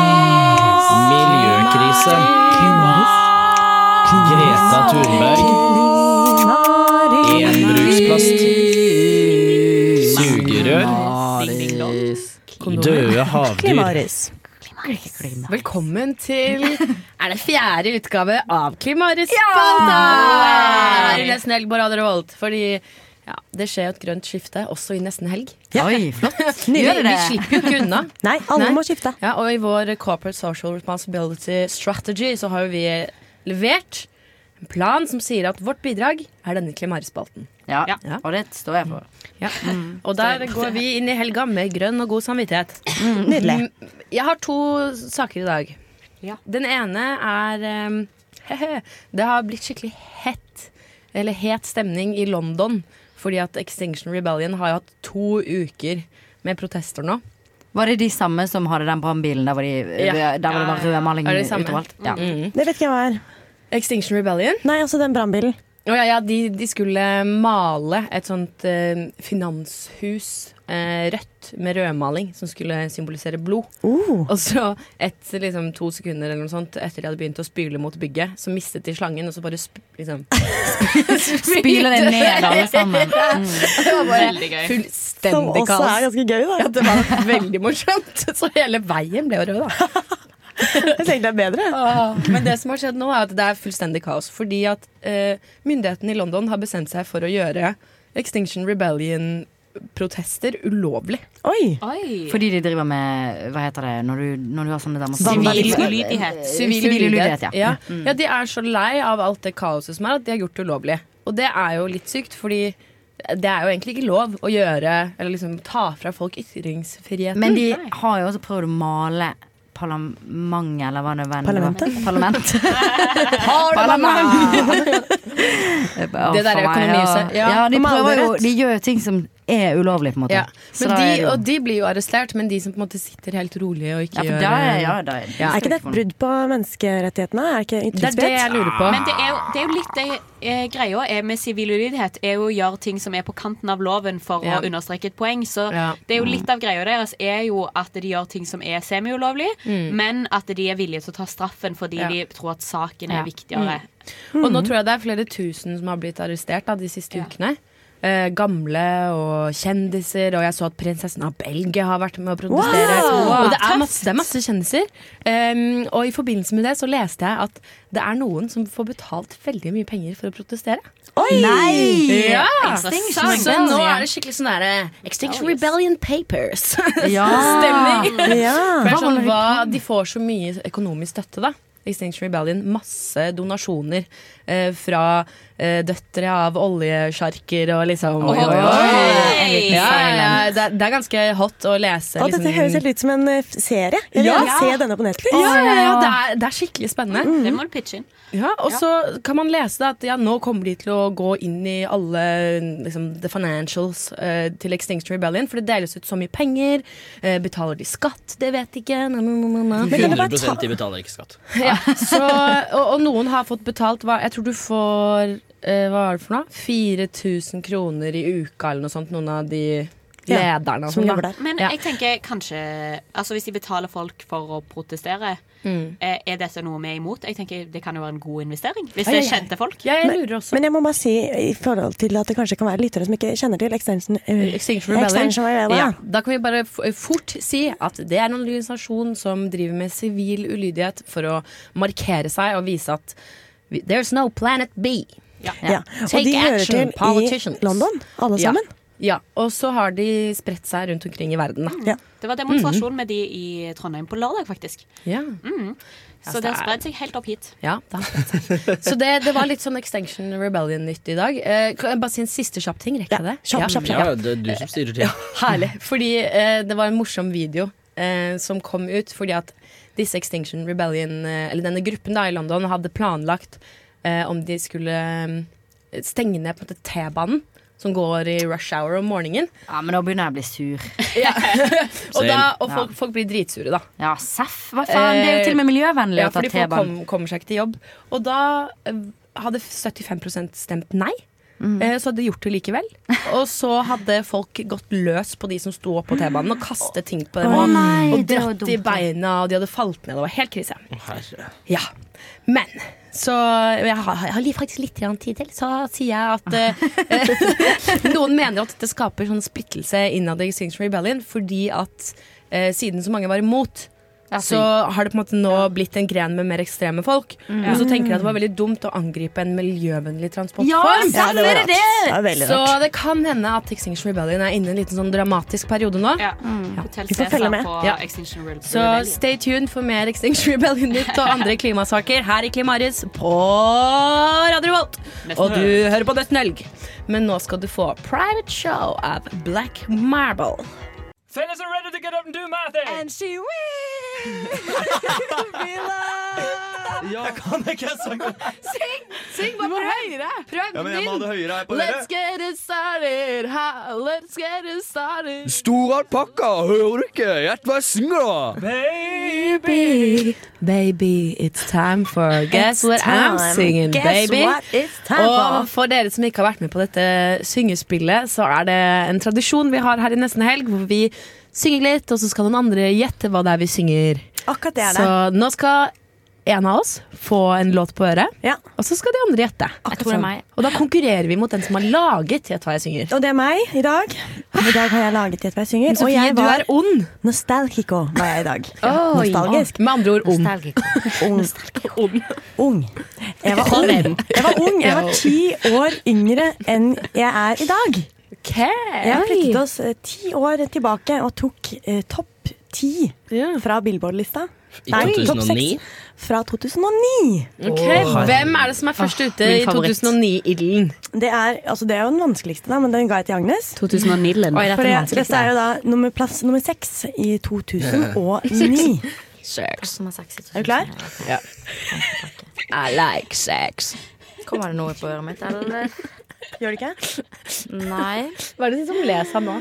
Miljøkrise. Greta Thunberg. Enbruksplast. Sugerør. Døde havdyr.
Klimaris.
Velkommen til Er det fjerde utgave av Klimaris
Ja!
spalte? Her i Nesten helg på Radio Revolt. Fordi ja, det skjer jo et grønt skifte også i nesten helg.
Oi, flott.
Vi,
Gjør
vi
det.
slipper jo ikke unna.
Nei, alle må skifte.
Ja, og i vår Corporate Social Responsibility Strategy så har jo vi levert en plan som sier at vårt bidrag er denne Klimaris-spalten.
Ja, og det står jeg for. Mm.
Ja. Og der går vi inn i helga med grønn og god samvittighet.
nydelig.
Mm, Jeg har to saker i dag. Den ene er em, hehe, Det har blitt skikkelig hett Eller het stemning i London. Fordi at Extinction Rebellion har jo hatt to uker med protester nå.
Var det de samme som hadde den brannbilen der, hvor de,
Ja.
der hvor det var rødmaling
Er det de samme?
utoveralt? Ja.
Mm.
Det vet ikke jeg hva er.
Extinction Rebellion?
Nei, altså den brannbilen.
Å ja, ja, de, de skulle male et sånt eh, finanshus eh, rødt med rødmaling som skulle symbolisere blod.
Uh.
Og så et, liksom, to sekunder eller noe sånt etter de hadde begynt å spyle mot bygget, så mistet de slangen, og så bare sp liksom
Spyler det ned alle sammen. Mm.
Det var bare
Veldig gøy.
Som
fullstendig
også
kaos.
er ganske gøy, da.
Ja, det var veldig morsomt. Så hele veien ble jo rød, da.
Jeg tenkte det er bedre.
Åh, Ah, Men det som har skjedd nå er at det er fullstendig kaos. Fordi at eh, myndighetene i London har bestemt seg for å gjøre Extinction Rebellion-protester ulovlig.
Oi.
Mm.
Fordi de driver med Hva heter det når du, når du har sånne demonstrasjoner?
Sivil
Sivil ulydighet, ja. Mm.
Ja. ja, de er så lei av alt det kaoset som er, at de har gjort det ulovlig. Og det er jo litt sykt, fordi det er jo egentlig ikke lov å gjøre Eller liksom ta fra folk ytringsfriheten.
Men de har jo også prøvd å male parlamentet, eller hva det var.
Parlamentet?
Parlament.
Det der er økonomihuset.
Ja,
Ja.
ja de,
Og malerett.
prøver jo, de gjør jo ting som er ulovlig, på en måte.
Ja.
Så da
Men
er det
de,
jo-
og de blir jo arrestert, men de som på en måte sitter helt rolig og ikke
Ja, for
gjør eh,
da er- ja, da er-
Ja.
Er ikke det et brudd på menneskerettighetene? Er ikke ytringsfrihet?
Men det er, jo, det er jo litt det eh, greia er med sivil ulydighet, er jo å gjøre ting som er på kanten av loven for
Ja.
å understreke et poeng. Så
Ja.
det er jo litt av greia deres er jo at de gjør ting som er semiulovlig,
Mm.
men at de er villige til å ta straffen fordi
Ja.
de tror at saken
Ja.
er viktigere.
Mm. Og nå tror jeg det er flere tusen som har blitt arrestert da, de siste ukene. Eh, gamle og kjendiser, og jeg så at prinsessen av Belgia har vært med å protestere.
Wow!
Og det er masse, det er masse kjendiser. Em, og i forbindelse med det så leste jeg at det er noen som får betalt veldig mye penger for å protestere.
Oi! Nei!
Ja!
Extinction
Så, så nå
Rebellion.
er det skikkelig sånn derre Extinction Rebellion Papers.
Ja.
Stemning.
Ja. Hva
For det er
var
sånn,
det
hva, de får så mye økonomisk støtte, da. Extinction Rebellion. Masse donasjoner eh, fra eh, døtre av oljesjarker og liksom
Oi, oi, oi.
Ja, ja, det, er- det er ganske hot å lese. liksom-
Å, dette høres helt ut som en eh, serie. Jeg vil
Ja.
gjerne se denne på Netflix. Mm.
Ja, ja, ja det, er, det er skikkelig spennende.
Det må du pitche inn.
Ja, Og
Ja.
så kan man lese det at ja, nå kommer de til å gå inn i alle liksom, the financials eh, til Extinction Rebellion, for det deles ut så mye penger. eh, betaler de skatt? Det vet ikke. Na, na, na, na.
100 de betaler ikke skatt.
Ja, så, og, og noen har fått betalt hva, Jeg tror du får eh, Hva er det for noe? 4000 kroner i uka eller noe sånt Noen av de
Ja,
lederne og
som
sånn,
jobber
da.
der.
Men
ja.
jeg tenker kanskje Altså Hvis de betaler folk for å protestere,
Mm.
eh, er dette noe vi er imot? Jeg tenker Det kan jo være en god investering. Hvis
Ja,
det
ja,
er
ja.
kjente folk.
men, men jeg må bare si i forhold til at det kanskje kan være lyttere som ikke kjenner til Extinction, eh,
Extinction Rebellion.
Extinction Rebellion.
Ja, da kan vi bare f fort si at det er en organisasjon som driver med sivil ulydighet for å markere seg og vise at vi- There's no planet B.
Ja. Og de hører til i London, alle sammen.
Ja, og så har de spredt seg rundt omkring i verden, da.
Mm. Det var
Mhm.
demonstrasjon med de i Trondheim på lørdag, faktisk.
Ja.
Mm.
Ja,
Så
det
det
er-
har spredd seg helt opp hit.
Ja, det har spredt seg. Så det, det var litt sånn Extinction Rebellion-nytt i dag. Eh, kan jeg bare si en siste kjapp ting, rekker jeg det? Ja.
Ja, det er du som styrer tida.
Herlig. Fordi eh, det var en morsom video eh, som kom ut fordi at disse Extinction Rebellion, eh, eller denne gruppen da i London, hadde planlagt eh, om de skulle eh, stenge ned på en måte T-banen. Som går i rush hour om morgenen.
Ja, men da begynner jeg å bli sur.
Og, da, og
Ja.
folk, folk blir dritsure, da. Eh,
Ja, seff. Hva faen? Det er jo til og med miljøvennlig
ja,
å ta
Fordi folk kom,
T-banen.
kommer seg ikke til jobb. Og da eh, hadde 75 stemt nei.
Mm.
Eh, Så hadde de gjort det likevel. Og så hadde folk gått løs på de som sto opp på T-banen og kastet ting på dem.
Å
og-
nei,
og
det var
dratt i beina, og de hadde falt ned. Det var helt krise.
Herre.
Ja. Men så jeg har, jeg har li- faktisk litt grann tid til, så sier jeg at eh, Noen mener at dette skaper sånn splittelse innad i Extinction Rebellion fordi at eh, siden så mange var imot, så har det på en måte nå blitt en gren med mer ekstreme folk.
Mm.
Og så tenker jeg at det var veldig dumt å angripe en miljøvennlig transportform.
Ja, stemmer Ja, det var det! rart. Det var veldig
så
rart.
det kan hende at Extinction Rebellion er inne i en liten sånn dramatisk periode nå. Ja.
Vi får følge med. På
Ja.
Extinction Rebellion.
Så stay tuned for mer Extinction Rebellion-nytt og andre klimasaker her i Klimaris på Radio Volt. Og du hører på Dødt Nølg. Men nå skal du få Private Show av Black Marble.
Sailors are ready to get up and do my thing. And she will be loved.
Ja. Jeg kan ikke sangen.
Syng! Syng bare prøv. høyere. Prøv
Ja, men jeg må ha det høyere her på
Let's
øret.
get it started, ha, let's get it started.
Store alpakka, hører du ikke? Gjett hva jeg synger, da.
Baby, baby, it's time for Guess
It's
what I'm
time.
singing,
Guess
baby.
what it's time
Og
for.
for dere som ikke har vært med på dette syngespillet, så er det en tradisjon vi har her i nesten helg, hvor vi synger litt, og så skal noen andre gjette hva det er vi synger.
Akkurat det er
Så
det.
nå skal en av oss få en låt på øret, og så skal de andre gjette.
tror det er meg.
Og da konkurrerer vi mot den som har laget Gjett hva jeg synger.
sånn. Og det er meg i dag. I dag har jeg laget Gjett hva jeg synger.
Men Sofie,
og jeg
du er ond.
Nostalgico var jeg i dag.
Oi.
Nostalgisk.
Med andre ord ond.
Ung. Ung. Jeg var
Fra
ung.
den.
Jeg var ung. Jeg var ti år yngre enn jeg er i dag. Jeg flyttet oss eh, ti år tilbake og tok eh, topp ti fra Billboard-lista.
I
Nei, topp
2009?
seks. Fra 2009.
Ok, Hvem er det som er først ute i 2009-idelen?
Det er, altså det er jo den vanskeligste, da, men den ga jeg til Agnes.
2009-idelen. Oi, dette er
For
vanskelig,
dette er jo da Eh, nummer, plass nummer seks i 2009. Er du klar?
Ja.
I like sex.
Kommer det noe på øret mitt, eller?
Gjør det ikke?
Nei.
Hva er det som leser nå?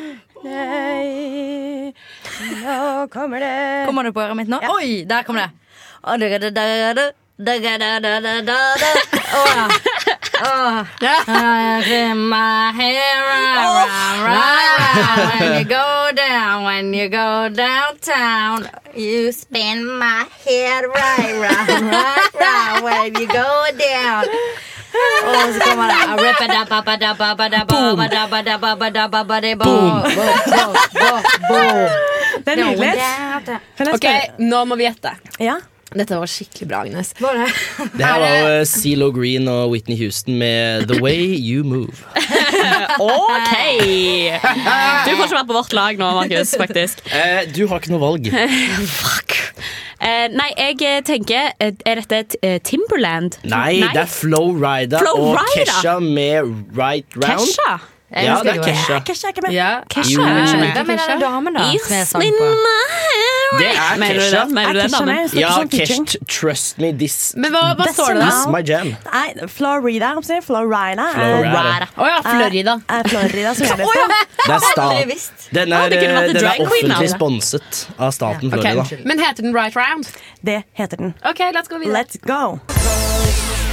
Nå
kommer det
Kommer det på øret mitt nå? Oi, der kom det! Å, da, da, da, da, da, da, da, da, da, da, da. Å, ja. Å. Rim my hair, ra, ra, ra, ra. When you go down, when you go downtown, you spin my head right, right, right, right. When you go down. Og så kommer det a rip it up, up, it up, up, it up, up, it up, it up, up, it up, up, it up, boom.
Det
er nydelig. Down, down.
Ok, nå må vi gjette.
Ja.
Dette var skikkelig bra, Agnes.
Det her var jo eh, CeeLo Green og Whitney Houston med The Way You Move.
OK! Du får ikke vært på vårt lag nå, Markus, faktisk.
Eh, du har ikke noe valg.
Fuck. Eh, nei, jeg eh, tenker eh, Er dette et, eh, Timberland?
Nei, det er Flow Rida
Flo
og
Rida?
Kesha med Right Round.
Kesha? Jeg
Ja,
husker
det er
jo det.
Kesha.
Kesha er ikke med.
Jo, hun er ikke med.
Hvem er denne damen, da?
You
som jeg sang
spin
på?
Det er
Mener du
Kesha.
den? Mener du den, Er Kesha Anne? med? Jeg snakker
Ja,
sånn teaching.
Kesh, trust me, this
Men hva- hva står det da?
This is my jam.
Nei, Florida. hva sier jeg? Florida. er-
Florida.
Å ja, Florida.
Er, er Florida som gjør det.
Det er
Aldri
staten.
visst.
Den er,
Å,
eh,
det kunne vært en
den
drag
er
queen,
offentlig
Laura.
sponset av staten Florida.
Men heter den Right Round?
Det heter den.
Ok, let's go videre.
Let's go.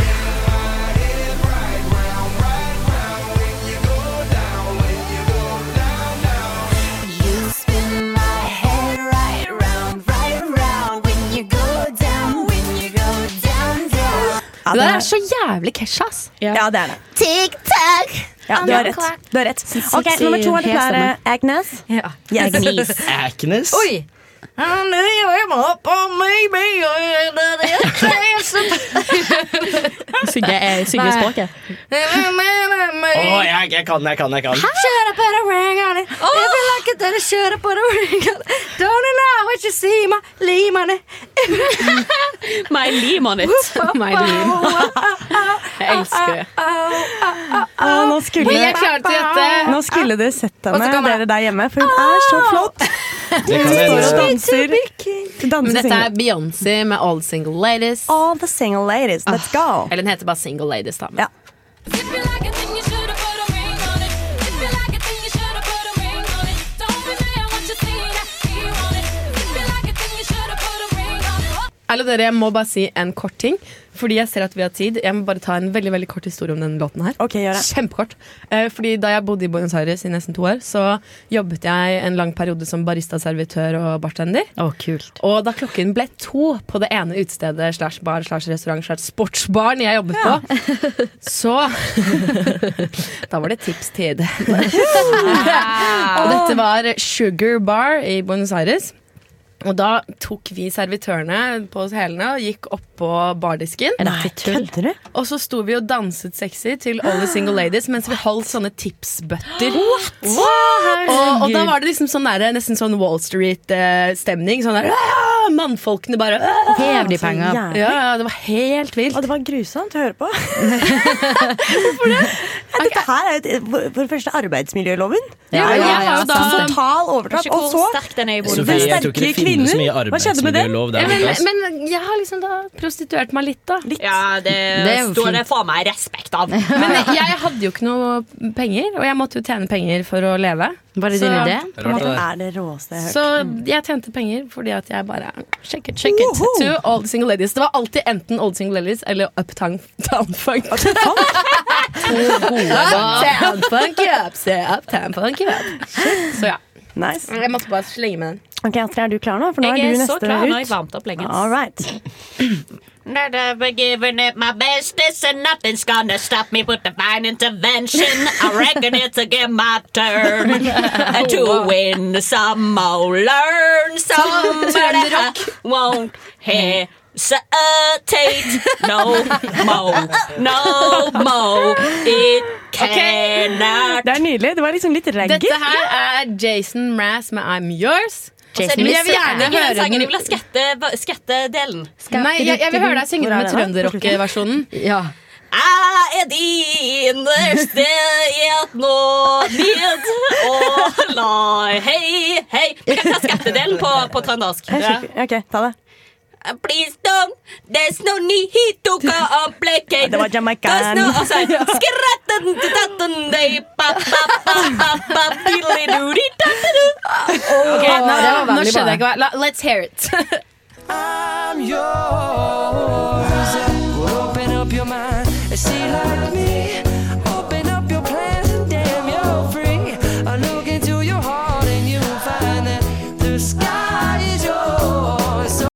You spin my head right round, right round. When you go down, when you go down, down.
Det der er så jævlig Kesha, ass.
Ja, det er det.
Tic tac.
Ja, du har rett. Du har rett. Ok, Nummer to er det klare, Agnes. Yes.
Agnes.
Oi!
Synge, eh, synge
Nei.
språket. eh,
Å, jeg, jeg kan, jeg kan, jeg kan.
Shut up and
ring on it. If you like it, then you should have put a ring on it. Don't you know what you see, my lean on it.
My lim on it. My Jeg elsker det.
Ah, nå skulle
Vi er klare til dette.
Nå skulle dere sett
Og så
henne,
kan man-
dere der hjemme, for hun er
Ah!
så flott.
Det
Hun
kan
står og
hende.
danser.
Men dette er
single.
Beyoncé med All the Single Ladies. Ah,
All the single ladies, let's go
Eller den heter bare Single Ladies, da. Men. Alle dere, jeg må bare si en kort ting. Fordi jeg ser at vi har tid. Jeg må bare ta en veldig veldig kort historie om den låten her. Kjempekort. Eh, Fordi Da jeg bodde i Buenos Aires i nesten to år, så jobbet jeg en lang periode som barista, servitør og bartender. Og da klokken ble to på det ene utestedet slash bar slash restaurant slash sportsbaren jeg jobbet på, så Da var det tipstid. og dette var Sugar Bar i Buenos Aires. Og da tok vi servitørene på oss hælene og gikk opp på bardisken. Og så sto vi og danset sexy til All the Single Ladies mens vi holdt sånne tipsbøtter. Og, og da var det liksom sånn der, nesten sånn Wall Street-stemning. Sånn der «Ah!» Mannfolkene bare «Ah!»
Hev de penger.
Ja, ja, det var helt vilt.
Og det var grusomt å høre på. Hvorfor det? Ja, dette her er jo et- eh, for for det første arbeidsmiljøloven.
Ja, ja, ja, ja.
Så altså, Total overtrapp.
Vær så god,
Og så
sterk den er i bordet.
den
Sofie, jeg tror ikke
sterke
det finnes så
kvinnen.
mye
Hva skjedde med den?
arbeidsmiljølov der borte. ass.
men jeg har liksom da prostituert meg litt, da.
Ja, det,
Det er jo
står
fint.
det faen meg respekt av.
Men jeg hadde jo ikke noe penger, og jeg måtte jo tjene penger for å leve.
Var det din idé?
på en måte.
er Mm. det råeste jeg har hørt.
Så jeg tjente penger fordi at jeg bare Check it, check it to all the single ladies. Det var alltid enten all the single ladies eller uptown town funk. Uptown funk, yup, se, uptown funk, yup. Så ja.
Nice.
Jeg måtte bare slenge med den.
Ok, Astrid, er du klar nå? For nå
Jeg
er
er
du
så
neste
klar, nå
ut.
har jeg varmt opp lenge.
All right.
Not ever giving it my best, this and nothing's gonna stop me with divine intervention. I reckon it's again my turn
Oh,
to win some or learn some, but I won't
Hmm.
hesitate no more, no more. It cannot.
Det er nydelig. Det var liksom litt reggae.
Dette her er Jason Mraz med I'm Yours. Men jeg vil gjerne høre
den.
den
Jeg vil ha skatte- skattedelen.
Nei, jeg, jeg vil høre deg synge den med trønderrock-versjonen.
Ja.
Jeg er din verste et nå ned og la hei, hei. Vi kan ta skattedelen på, på trøndersk.
Jeg skjønner- Ok, ta det.
Please don't, there's no need to complicate.
Det var jamaican.
There's no, altså, skrattatatatatandei-pa-pa-pa-pa-pa-dilidudi-tatadu.
Ok,
Ok,
nå,
nå-
nå skjønner jeg ikke hva la- Let's hear it.
I'm yours. Open up your mind and see like me. Open up your plans and damn, you're free. I look into your heart and you'll find that the sky is yours. So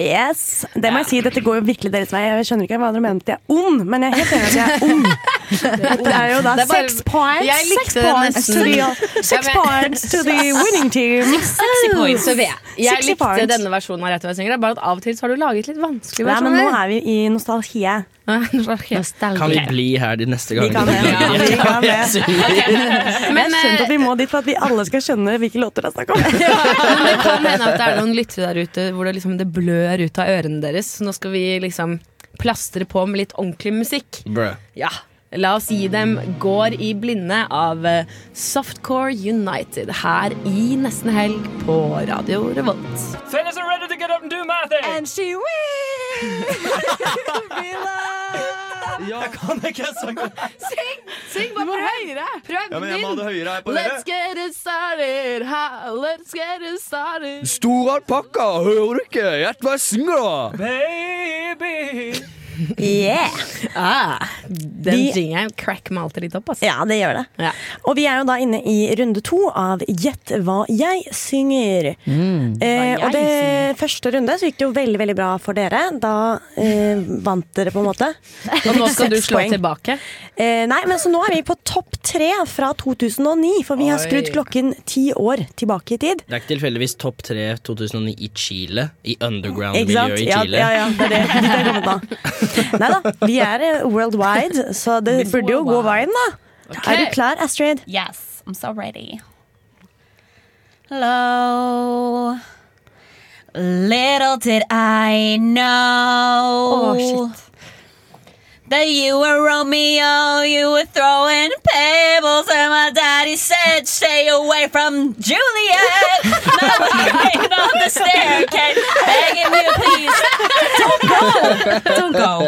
Yes, det må jeg si, dette går jo virkelig deres vei. Jeg skjønner ikke hva dere mener at jeg er ond, men jeg er helt enig at jeg er ond. Dette er jo da
Det er bare-
seks points,
Jeg likte
seks
det
points,
nesten.
to the,
Ja,
six
men-
points to the winning team.
Sexy points. Så vet jeg. Jeg
Sexy
likte
points.
denne versjonen av Rett og synger. Det er bare at av og til så har du laget litt vanskelige
Nei, men nå
versjoner.
er vi i nostalgie.
Kan vi bli her de neste
Vi kan
gangene?
det. Ja, vi kan det.
Jeg synger.
Men jeg skjønte at vi
eh,
må dit for at vi alle skal skjønne hvilke låter det er snakk om.
Men det kan hende at det er noen lyttere der ute hvor det, liksom, det blør ut av ørene deres. Så nå skal vi liksom plastre på med litt ordentlig musikk.
Bruh.
Ja. La oss gi dem 'Går i blinde' av eh, Softcore United her i Nesten Helg på Radio Revolt.
Fellas are ready to get up and do my thing. And she will be loved.
Jeg kan ikke sangen.
Syng! Syng bare høyere! Prøv
Ja, men jeg må ha det høyere her på
Let's
dere.
get it started, ha, let's get it started.
Stor alpakka, hører du ikke? Gjett hva jeg synger, da!
Baby.
Yeah!
Ah, den
Vi-
jingeren cracker meg alltid litt opp. altså. ass.
Ja, det gjør det. Og vi er jo da inne i runde to av Gjett hva jeg synger. Eh, og det første runde så gikk det jo veldig veldig bra for dere. Da eh, vant dere, på en måte.
Og nå skal du
Seks
slå
poeng.
tilbake.
Eh, nei, men så nå er vi på topp tre fra 2009, for vi har
Oi.
skrudd klokken ti år tilbake i tid.
Det er ikke tilfeldigvis topp tre 2009 i Chile. I
Ikke sant?
underground-miljøet i
Ja,
Chile.
ja, ja, det er det. Dit er jeg kommet da. Nei da, vi er eh, worldwide, så det burde jo gå veien, da. Er du klar, Astrid?
Yes. I'm so ready. Hello. Little did I know.
Oh,
That you were Romeo, you were throwing pebbles, and my daddy said, Stay away from Juliet. Mama on the staircase, begging you, please, don't go, don't go.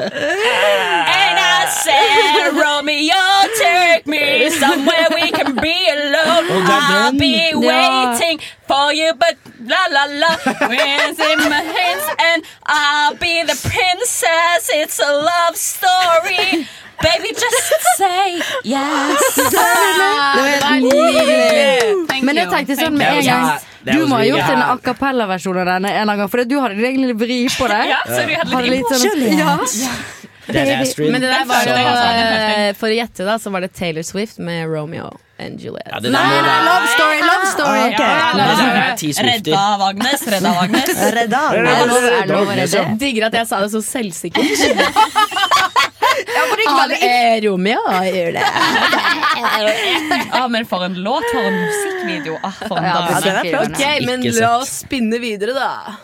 And I said, Romeo, take me somewhere we can be alone.
Oh, God,
I'll be
damn.
waiting for you, but la la la, winds in my hands, and I'll be the princess. It's a love story. Baby, just say yes.
Så
Ah,
nydelig. Det var nydelig.
Thank
Men jeg
you.
tenkte sånn
Thank
med en
you.
gang
Yeah, that
Du
was
må ha
really
gjort
good.
en a cappella-versjon av denne en gang, for du hadde egentlig vri på det.
Ja, så du hadde litt
litt sånn-
Juliet.
Ja.
Det er Astrid.
Men det der var jo,
Så-
eh, for å gjette, da, så var det Taylor Swift med Romeo and Juliet.
Ja, det der Nei, må nei, være-
love story, love story.
Ok.
Ja,
Det der er ti swifter.
Redda Vagnes, redda Vagnes.
Redda Vagnes. Er det lov- er det lov å redde?
Jeg Digger at jeg sa det så selvsikkert.
ikke
Av eh, Romeo og Juliet.
Ja, men for en låt, for en musikkvideo. Ah, for en
Ja,
dag.
den er flott. Ok, men
Ikke
la
sett.
oss spinne videre, da.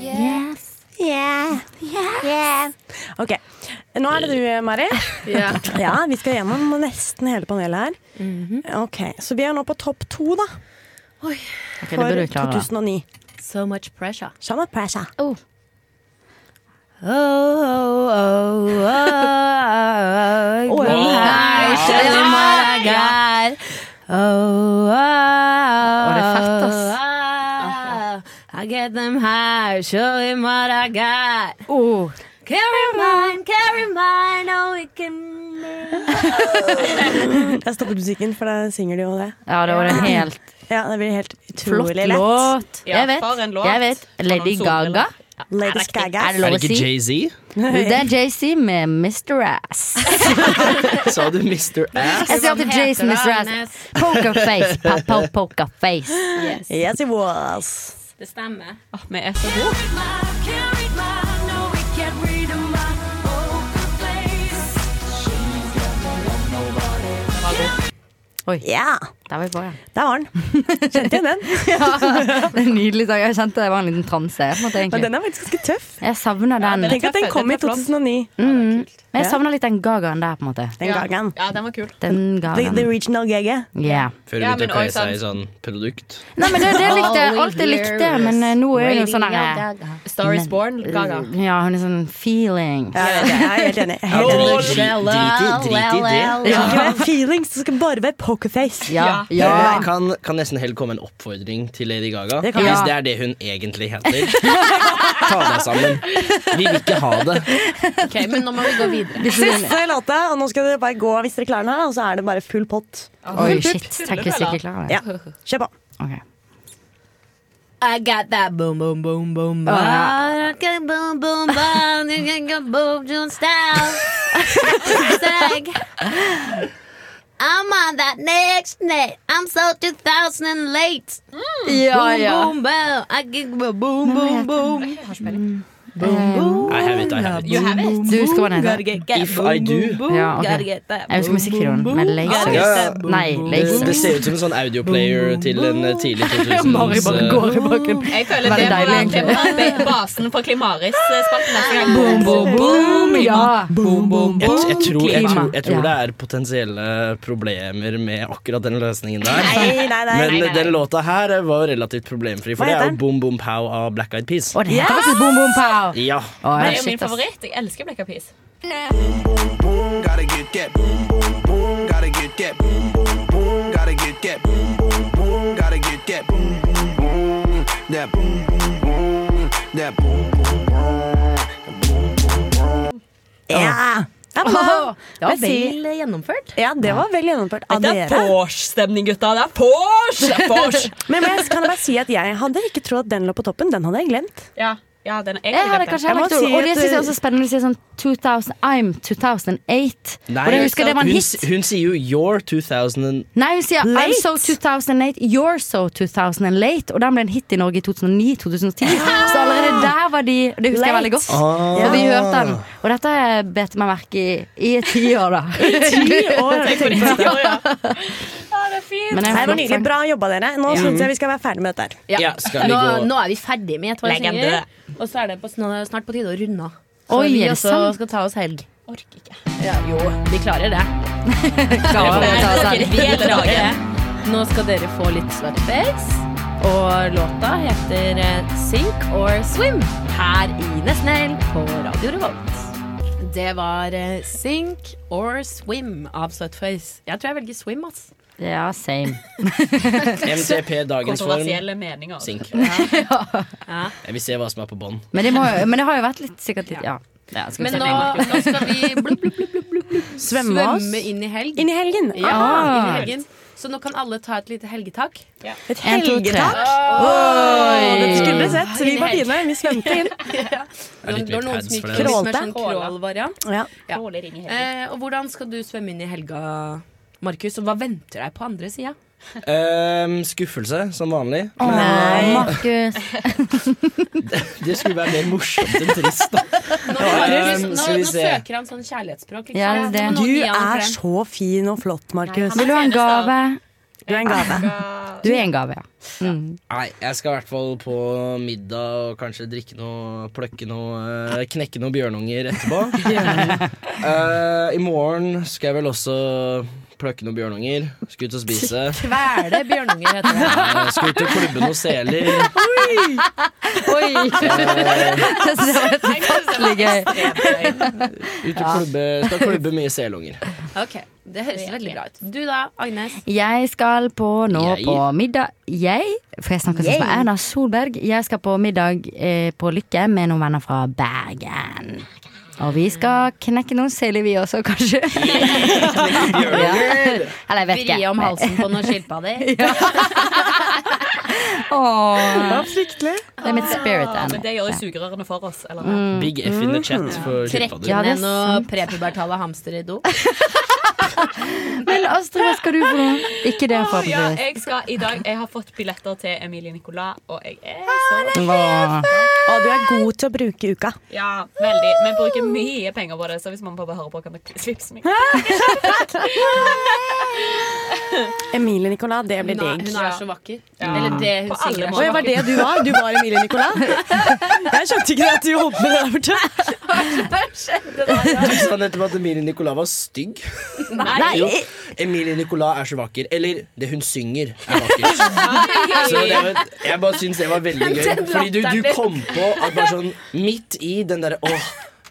Yes.
Yeah. Yeah. Ok, nå er det du, Mari.
Ja.
ja, vi skal gjennom nesten hele panelet her.
Mhm.
Ok, Så vi er nå på topp to, da.
det
for
burde vi klare, da.
2009.
So much pressure.
So much pressure.
Oh, oh, oh, oh, oh, oh,
Åh, ja.
I show you what I got. Oh, oh,
Var det fett, ass?
oh, oh, I get them high, show him what I got. Carry mine, carry mine, oh, it can
Jeg stoppet musikken, for da synger de jo det.
Ja, det var en helt
Ja, det blir helt
flott
utrolig lett.
låt.
Ja,
Jeg vet.
for en låt.
Jeg vet.
For
Lady
noen solbriller.
Gaga.
Lady Gaga.
Er det lov å si?
Jay-Z?
Det er Jay-Z med Mr. Ass.
Sa du Mr. Ass?
Jeg sier alltid Jason Mr. Ass. Pokerface. Pokerface.
Yes. it was.
Det stemmer.
Vi er så gode.
Oi.
Ja.
Der var vi på, ja.
Der var den. Kjente igjen den.
ja. Det er en nydelig sang. Jeg kjente det var en liten transe. på en måte, egentlig.
Men den er faktisk ganske tøff.
Jeg savner den.
den er Tenk at den tøff, kom den er i flott. 2009.
Mm. Men jeg
Ja.
savner litt den gagaen der, på en måte.
Den Ja. gagaen.
Ja, den var kul. Den
The,
gagaen.
the original GG.
Yeah.
Før du
Ja,
begynte
men
å kle
også
seg i sånn produkt.
Nei, men det, det likte jeg.
All
Alt jeg
we
likte,
hear
men eh, nå er hun jo sånn
Radio
her
Gaga. Star is born, Gaga.
Ja, hun er sånn feeling.
Ja, ja, ja, jeg er helt enig. Jeg er helt enig.
Drit i- drit i det.
Det skal ikke være feelings, det skal bare være pokerface.
Jeg kan, kan nesten heller komme en oppfordring til Lady Gaga.
Det kan
Hvis
jeg.
det er det hun egentlig heter. Ta deg sammen. Vi vil ikke ha det.
Ok, men nå må vi gå videre.
Siste låta, og nå skal dere bare gå hvis dere klarer den her, og så er det bare full pott.
Oi, shit. Tenk hvis jeg ikke klarer det.
Ja, Kjør på.
I got that boom, boom, boom, boom, boom.
Oh, yeah.
I got boom, boom, boom. You can go boom, John style. Zag.
I'm on that next net. I'm so 2000 and late.
Ja, ja.
Boom, boom, boom. I get boom, boom, boom.
Eh.
I have it, I have it.
You have it?
Du husker hva den
Gotta get that
heter?
If I do.
Ja, ok.
Gotta
Jeg
get that
husker musikkvideoen med Lasers.
Ja.
Nei,
Det, det
Lasers.
ser ut som en sånn audioplayer til en eh, tidlig eh, 2000s
Mari bare går i bakgrunnen.
Jeg føler
Veldig
det må
deilig,
være
egentlig.
klim- basen på eh, Klimaris-spalten. neste gang.
ja.
Boom, boom, Jeg, jeg, tror, jeg,
Klima.
tror, jeg tror
Ja.
det er potensielle problemer med akkurat den løsningen der.
Nei, nei, nei,
Men
nei, nei.
den låta her var jo relativt problemfri, for
Hva
det
heter
er
den?
jo Boom Boom Pow av Black Eyed Peas.
Å, det heter faktisk Boom Boom Pow.
Ja.
Det er jo min favoritt. Jeg elsker Black Eyed Peas.
Gotta get that boom, boom, boom. Gotta get that boom, boom, boom. Gotta get that boom, boom, boom. Gotta get that boom, boom, boom. That boom, boom, boom. That boom, boom, boom.
Ja. Ja, men
Åh, det var
jeg sier-
vel gjennomført.
Ja, det var vel gjennomført av
Det er
dere.
Porsche-stemning, gutta. Det er Porsche! Det er Porsche.
Men må jeg, kan jeg bare si at jeg hadde ikke trodd at den lå på toppen. Den hadde jeg glemt.
Ja.
Ja, den, jeg,
Jeg hadde kanskje heller ikke ord. Og det synes jeg også er spennende å si sånn 2000, I'm 2008. og jeg husker det var en
hun,
hit.
s- hun sier jo You're 2000
Nei, hun sier I'm
Late.
so 2008, you're so 2008. Og den ble en hit i Norge i 2009-2010. Så allerede der var de Det husker jeg
Late.
veldig godt.
Ah.
Og vi hørte den. Og dette bet jeg meg merke i i ti år, da.
I ti år,
Tenk på det.
Men
Nei,
det er en
det var
flott
nydelig.
sang.
Bra jobba, dere. Nå synes
Ja.
syns jeg vi skal være ferdig med dette her.
Ja, skal vi
nå,
gå-
nå er vi ferdig med et par
Legende.
sanger, og så er det på, snart snart på tide å runde av. Så
Oi,
vi
er det
også
sant?
skal ta oss helg. Orker ikke. Ja, jo, vi klarer det.
Klarer det,
Nei,
altså.
dere, vi klarer det. Nå skal dere få litt Slutface, og låta heter eh, Sink or Swim her i Nesten Helg på Radio Revolt. Det var eh, Sink or Swim av Slutface. Jeg tror jeg velger Swim, ass.
Ja, same.
MTP dagens
Kontroversielle
form.
meninger.
Sink.
Ja.
Jeg vil se hva som er på bånn.
Men det, må, jo- men det har jo vært litt sikkert litt Ja. ja skal vi
Men
se.
nå, nå skal vi blubb, blubb, blubb, blubb, blubb, blubb,
Svømme oss?
inn i helg.
Inn i helgen.
Ja,
Ah.
inn i helgen. Så nå kan alle ta et lite helgetak.
Et helgetak?
Oi.
Dette skulle dere sett. Vi
Inn i
var
helg.
fine. Vi svømte inn.
ja.
Jeg likte
Det var
litt
noen
pads
som gikk
for det.
litt mer
Crawlte.
sånn crawl-variant.
Ja.
Ja. Eh, og hvordan skal du svømme inn i helga, Markus? Og hva venter deg på andre sida?
Ehm, skuffelse, som vanlig.
Å,
Men- eh,
Markus.
Det skulle være mer morsomt enn trist, da.
Nå,
Ja,
Markus,
ehm,
nå,
skal vi
nå
se.
søker han sånn kjærlighetsspråk. ikke
Ja,
sant?
det er
Så
det.
nå
Du
gir han for
er
en.
så fin og flott, Markus.
Vil du ha en gave?
Du er en gave.
Du er en gave, ja. Mm.
Nei, jeg skal i hvert fall på middag og kanskje drikke noe, plukke noe, eh, knekke noen bjørnunger etterpå. Eh, I morgen skal jeg vel også plukke noen bjørnunger. Skal ut og spise.
Kvele bjørnunger, heter det.
Eh, Skal ut og klubbe noen seler.
Oi! Jeg synes det var helt ufattelig gøy.
Ut og klubbe, skal klubbe mye selunger.
Ok, Det høres veldig bra ut. Du da, Agnes?
Jeg skal på nå
Jeg.
på middag Jeg, for jeg snakker sånn som
Jeg.
Erna Solberg. Jeg skal på middag eh, på Lykke med noen venner fra Bergen. Og vi skal knekke noen seler, vi også, kanskje. Ja. Eller jeg vet ikke.
Vri om halsen på noen skilpadder.
Åh.
fryktelig.
Det er mitt spirit animal.
Ah, Men det gjør jo sugerørene for oss. Eller?
Mm.
Big F in the chat for
Trekke
Mm.
skilpadder.
ned noen prepubertale hamstere i do.
Men Astrid, hva skal du for noe? Ikke det,
Å, ja,
eh,
forhåpentligvis.
jeg skal i dag Jeg har fått billetter til Emilie Nicolas, og jeg er så
Åh.
Å, du er god til å bruke uka.
Ja, veldig. Vi bruker mye penger på det, så hvis mamma og pappa hører på, kan dere slipse meg.
Emilie Nicolas, det blir
Hun er,
digg.
hun er så vakker. Eller det hun
På alle
sier. er så
Oi, var det
vakker.
du var? Du var Emilie Nicolas? Jeg skjønte ikke at du holdt med det der borte.
Du sa nettopp sånn at Emilie Nicolas var stygg.
Nei.
Jo, Emilie Nicolas er så vakker. Eller det hun synger, er vakkert. Så det, var- jeg bare syns det var veldig gøy. Fordi du, du kom på at bare sånn midt i den derre Åh,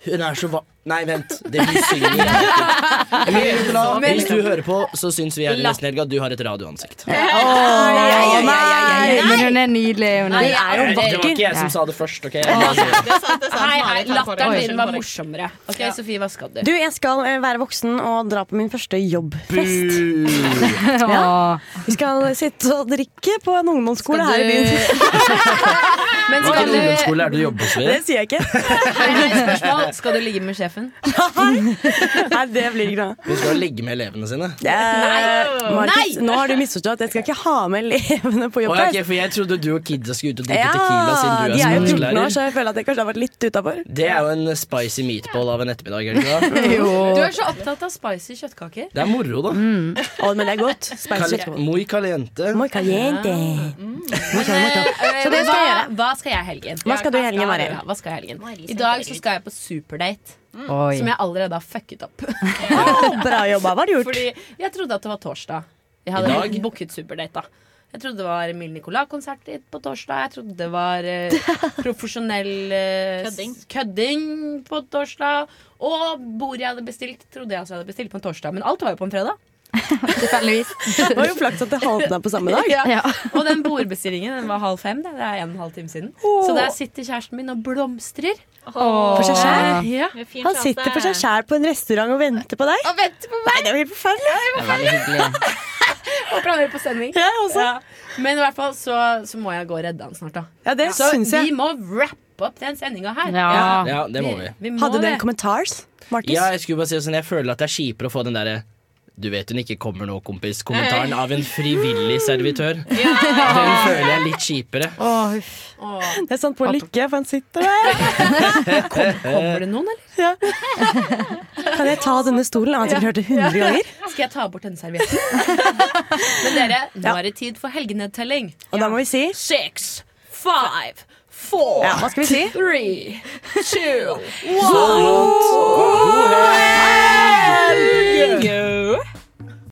hun er så va... Nei, vent. Det hun synger er vakkert. Emilie Nicolas,
Men-
hvis du hører på, så syns vi her i Nesten Helg at du har et radioansikt.
Åh,
nei,
nei, men hun er nydelig. Hun
Nei,
er,
er hun
Det var ikke jeg
Nei.
som sa det først, OK?
Hei, hei, latteren
Oi.
din var morsommere. Ok, Sofie, hva skal du?
Du, jeg skal eh, være voksen og dra på min første jobbfest.
Ja.
Vi skal sitte og drikke på en ungdomsskole her i byen.
Men
Hvilken
skal du
ungdomsskole er det du jobber på? Sofie?
Det sier jeg ikke.
Hei, hei, spørsmål. Skal du ligge med sjefen?
Nei, det blir ikke noe.
Hun skal ligge med elevene sine.
Eh,
Nei.
Markus, nå har du misforstått. Jeg skal ikke ha med elevene på
Å, ja, ok,
jobbfest.
for jeg trodde du og kidsa skulle ut og drikke tequila
Ja,
siden du
de er
er
jo 14 år,
småskolelærer.
så jeg føler at jeg kanskje har vært litt utafor.
Det er jo en spicy meatball av en ettermiddag. er det ikke det?
Du er så opptatt av spicy kjøttkaker.
Det er moro, da.
Mm. men det er godt. Spicy
Kal- Muy caliente.
Muy caliente.
Så
det skal jeg
Eh, hva,
gjøre.
Hva skal jeg i helgen?
Hva skal du i helgen, Mari?
Ja, Hva skal jeg i helgen? I dag så skal jeg på superdate.
Oi.
Som jeg allerede har fucket opp.
Å, bra jobba. Hva har du gjort?
Fordi jeg trodde at det var torsdag. Jeg
I
hadde
dag?
booket superdate, da. Jeg trodde det var Emil Nicolas-konsert dit på torsdag. Jeg trodde det var eh, profesjonell eh,
Kødding.
s- kødding på torsdag. Og bordet jeg hadde bestilt, trodde jeg også jeg hadde bestilt på en torsdag. Men alt var jo på en fredag.
Tilfeldigvis.
Det var jo flaks at det haltene er på samme dag.
Ja. Og den bordbestillingen den var halv fem. Det, det er en og en halv time siden. Så der sitter kjæresten min og blomstrer.
For seg sjæl?
Ja.
Han sitter for seg sjæl på en restaurant og venter på deg?
Og venter på meg.
Nei, det er jo helt forferdelig.
Og planer på sending.
Ja, også.
Men i hvert fall så, så må jeg gå og redde han snart, da.
Ja, det
så
syns jeg.
vi må wrappe steppe opp den sendinga her.
Ja. Ja, det må vi.
må
Hadde du
det.
en kommentar, Markus?
Ja, jeg skulle bare si det sånn, jeg føler at det er kjipere å få den derre du vet hun ikke kommer nå, kompis. Kommentaren av en frivillig servitør. Den føler jeg er litt kjipere.
Åh, uff. Det er sånn på lykke, for han sitter der.
Kommer det noen, eller?
Ja. Kan jeg ta denne stolen? Han har sikkert hørt det 100 ganger.
Skal jeg ta bort denne servietten? Men dere, nå er det tid for helgenedtelling.
Og da må vi si
Six, five, four,
Ja, hva skal vi si?
three, two,
Vondt.
one.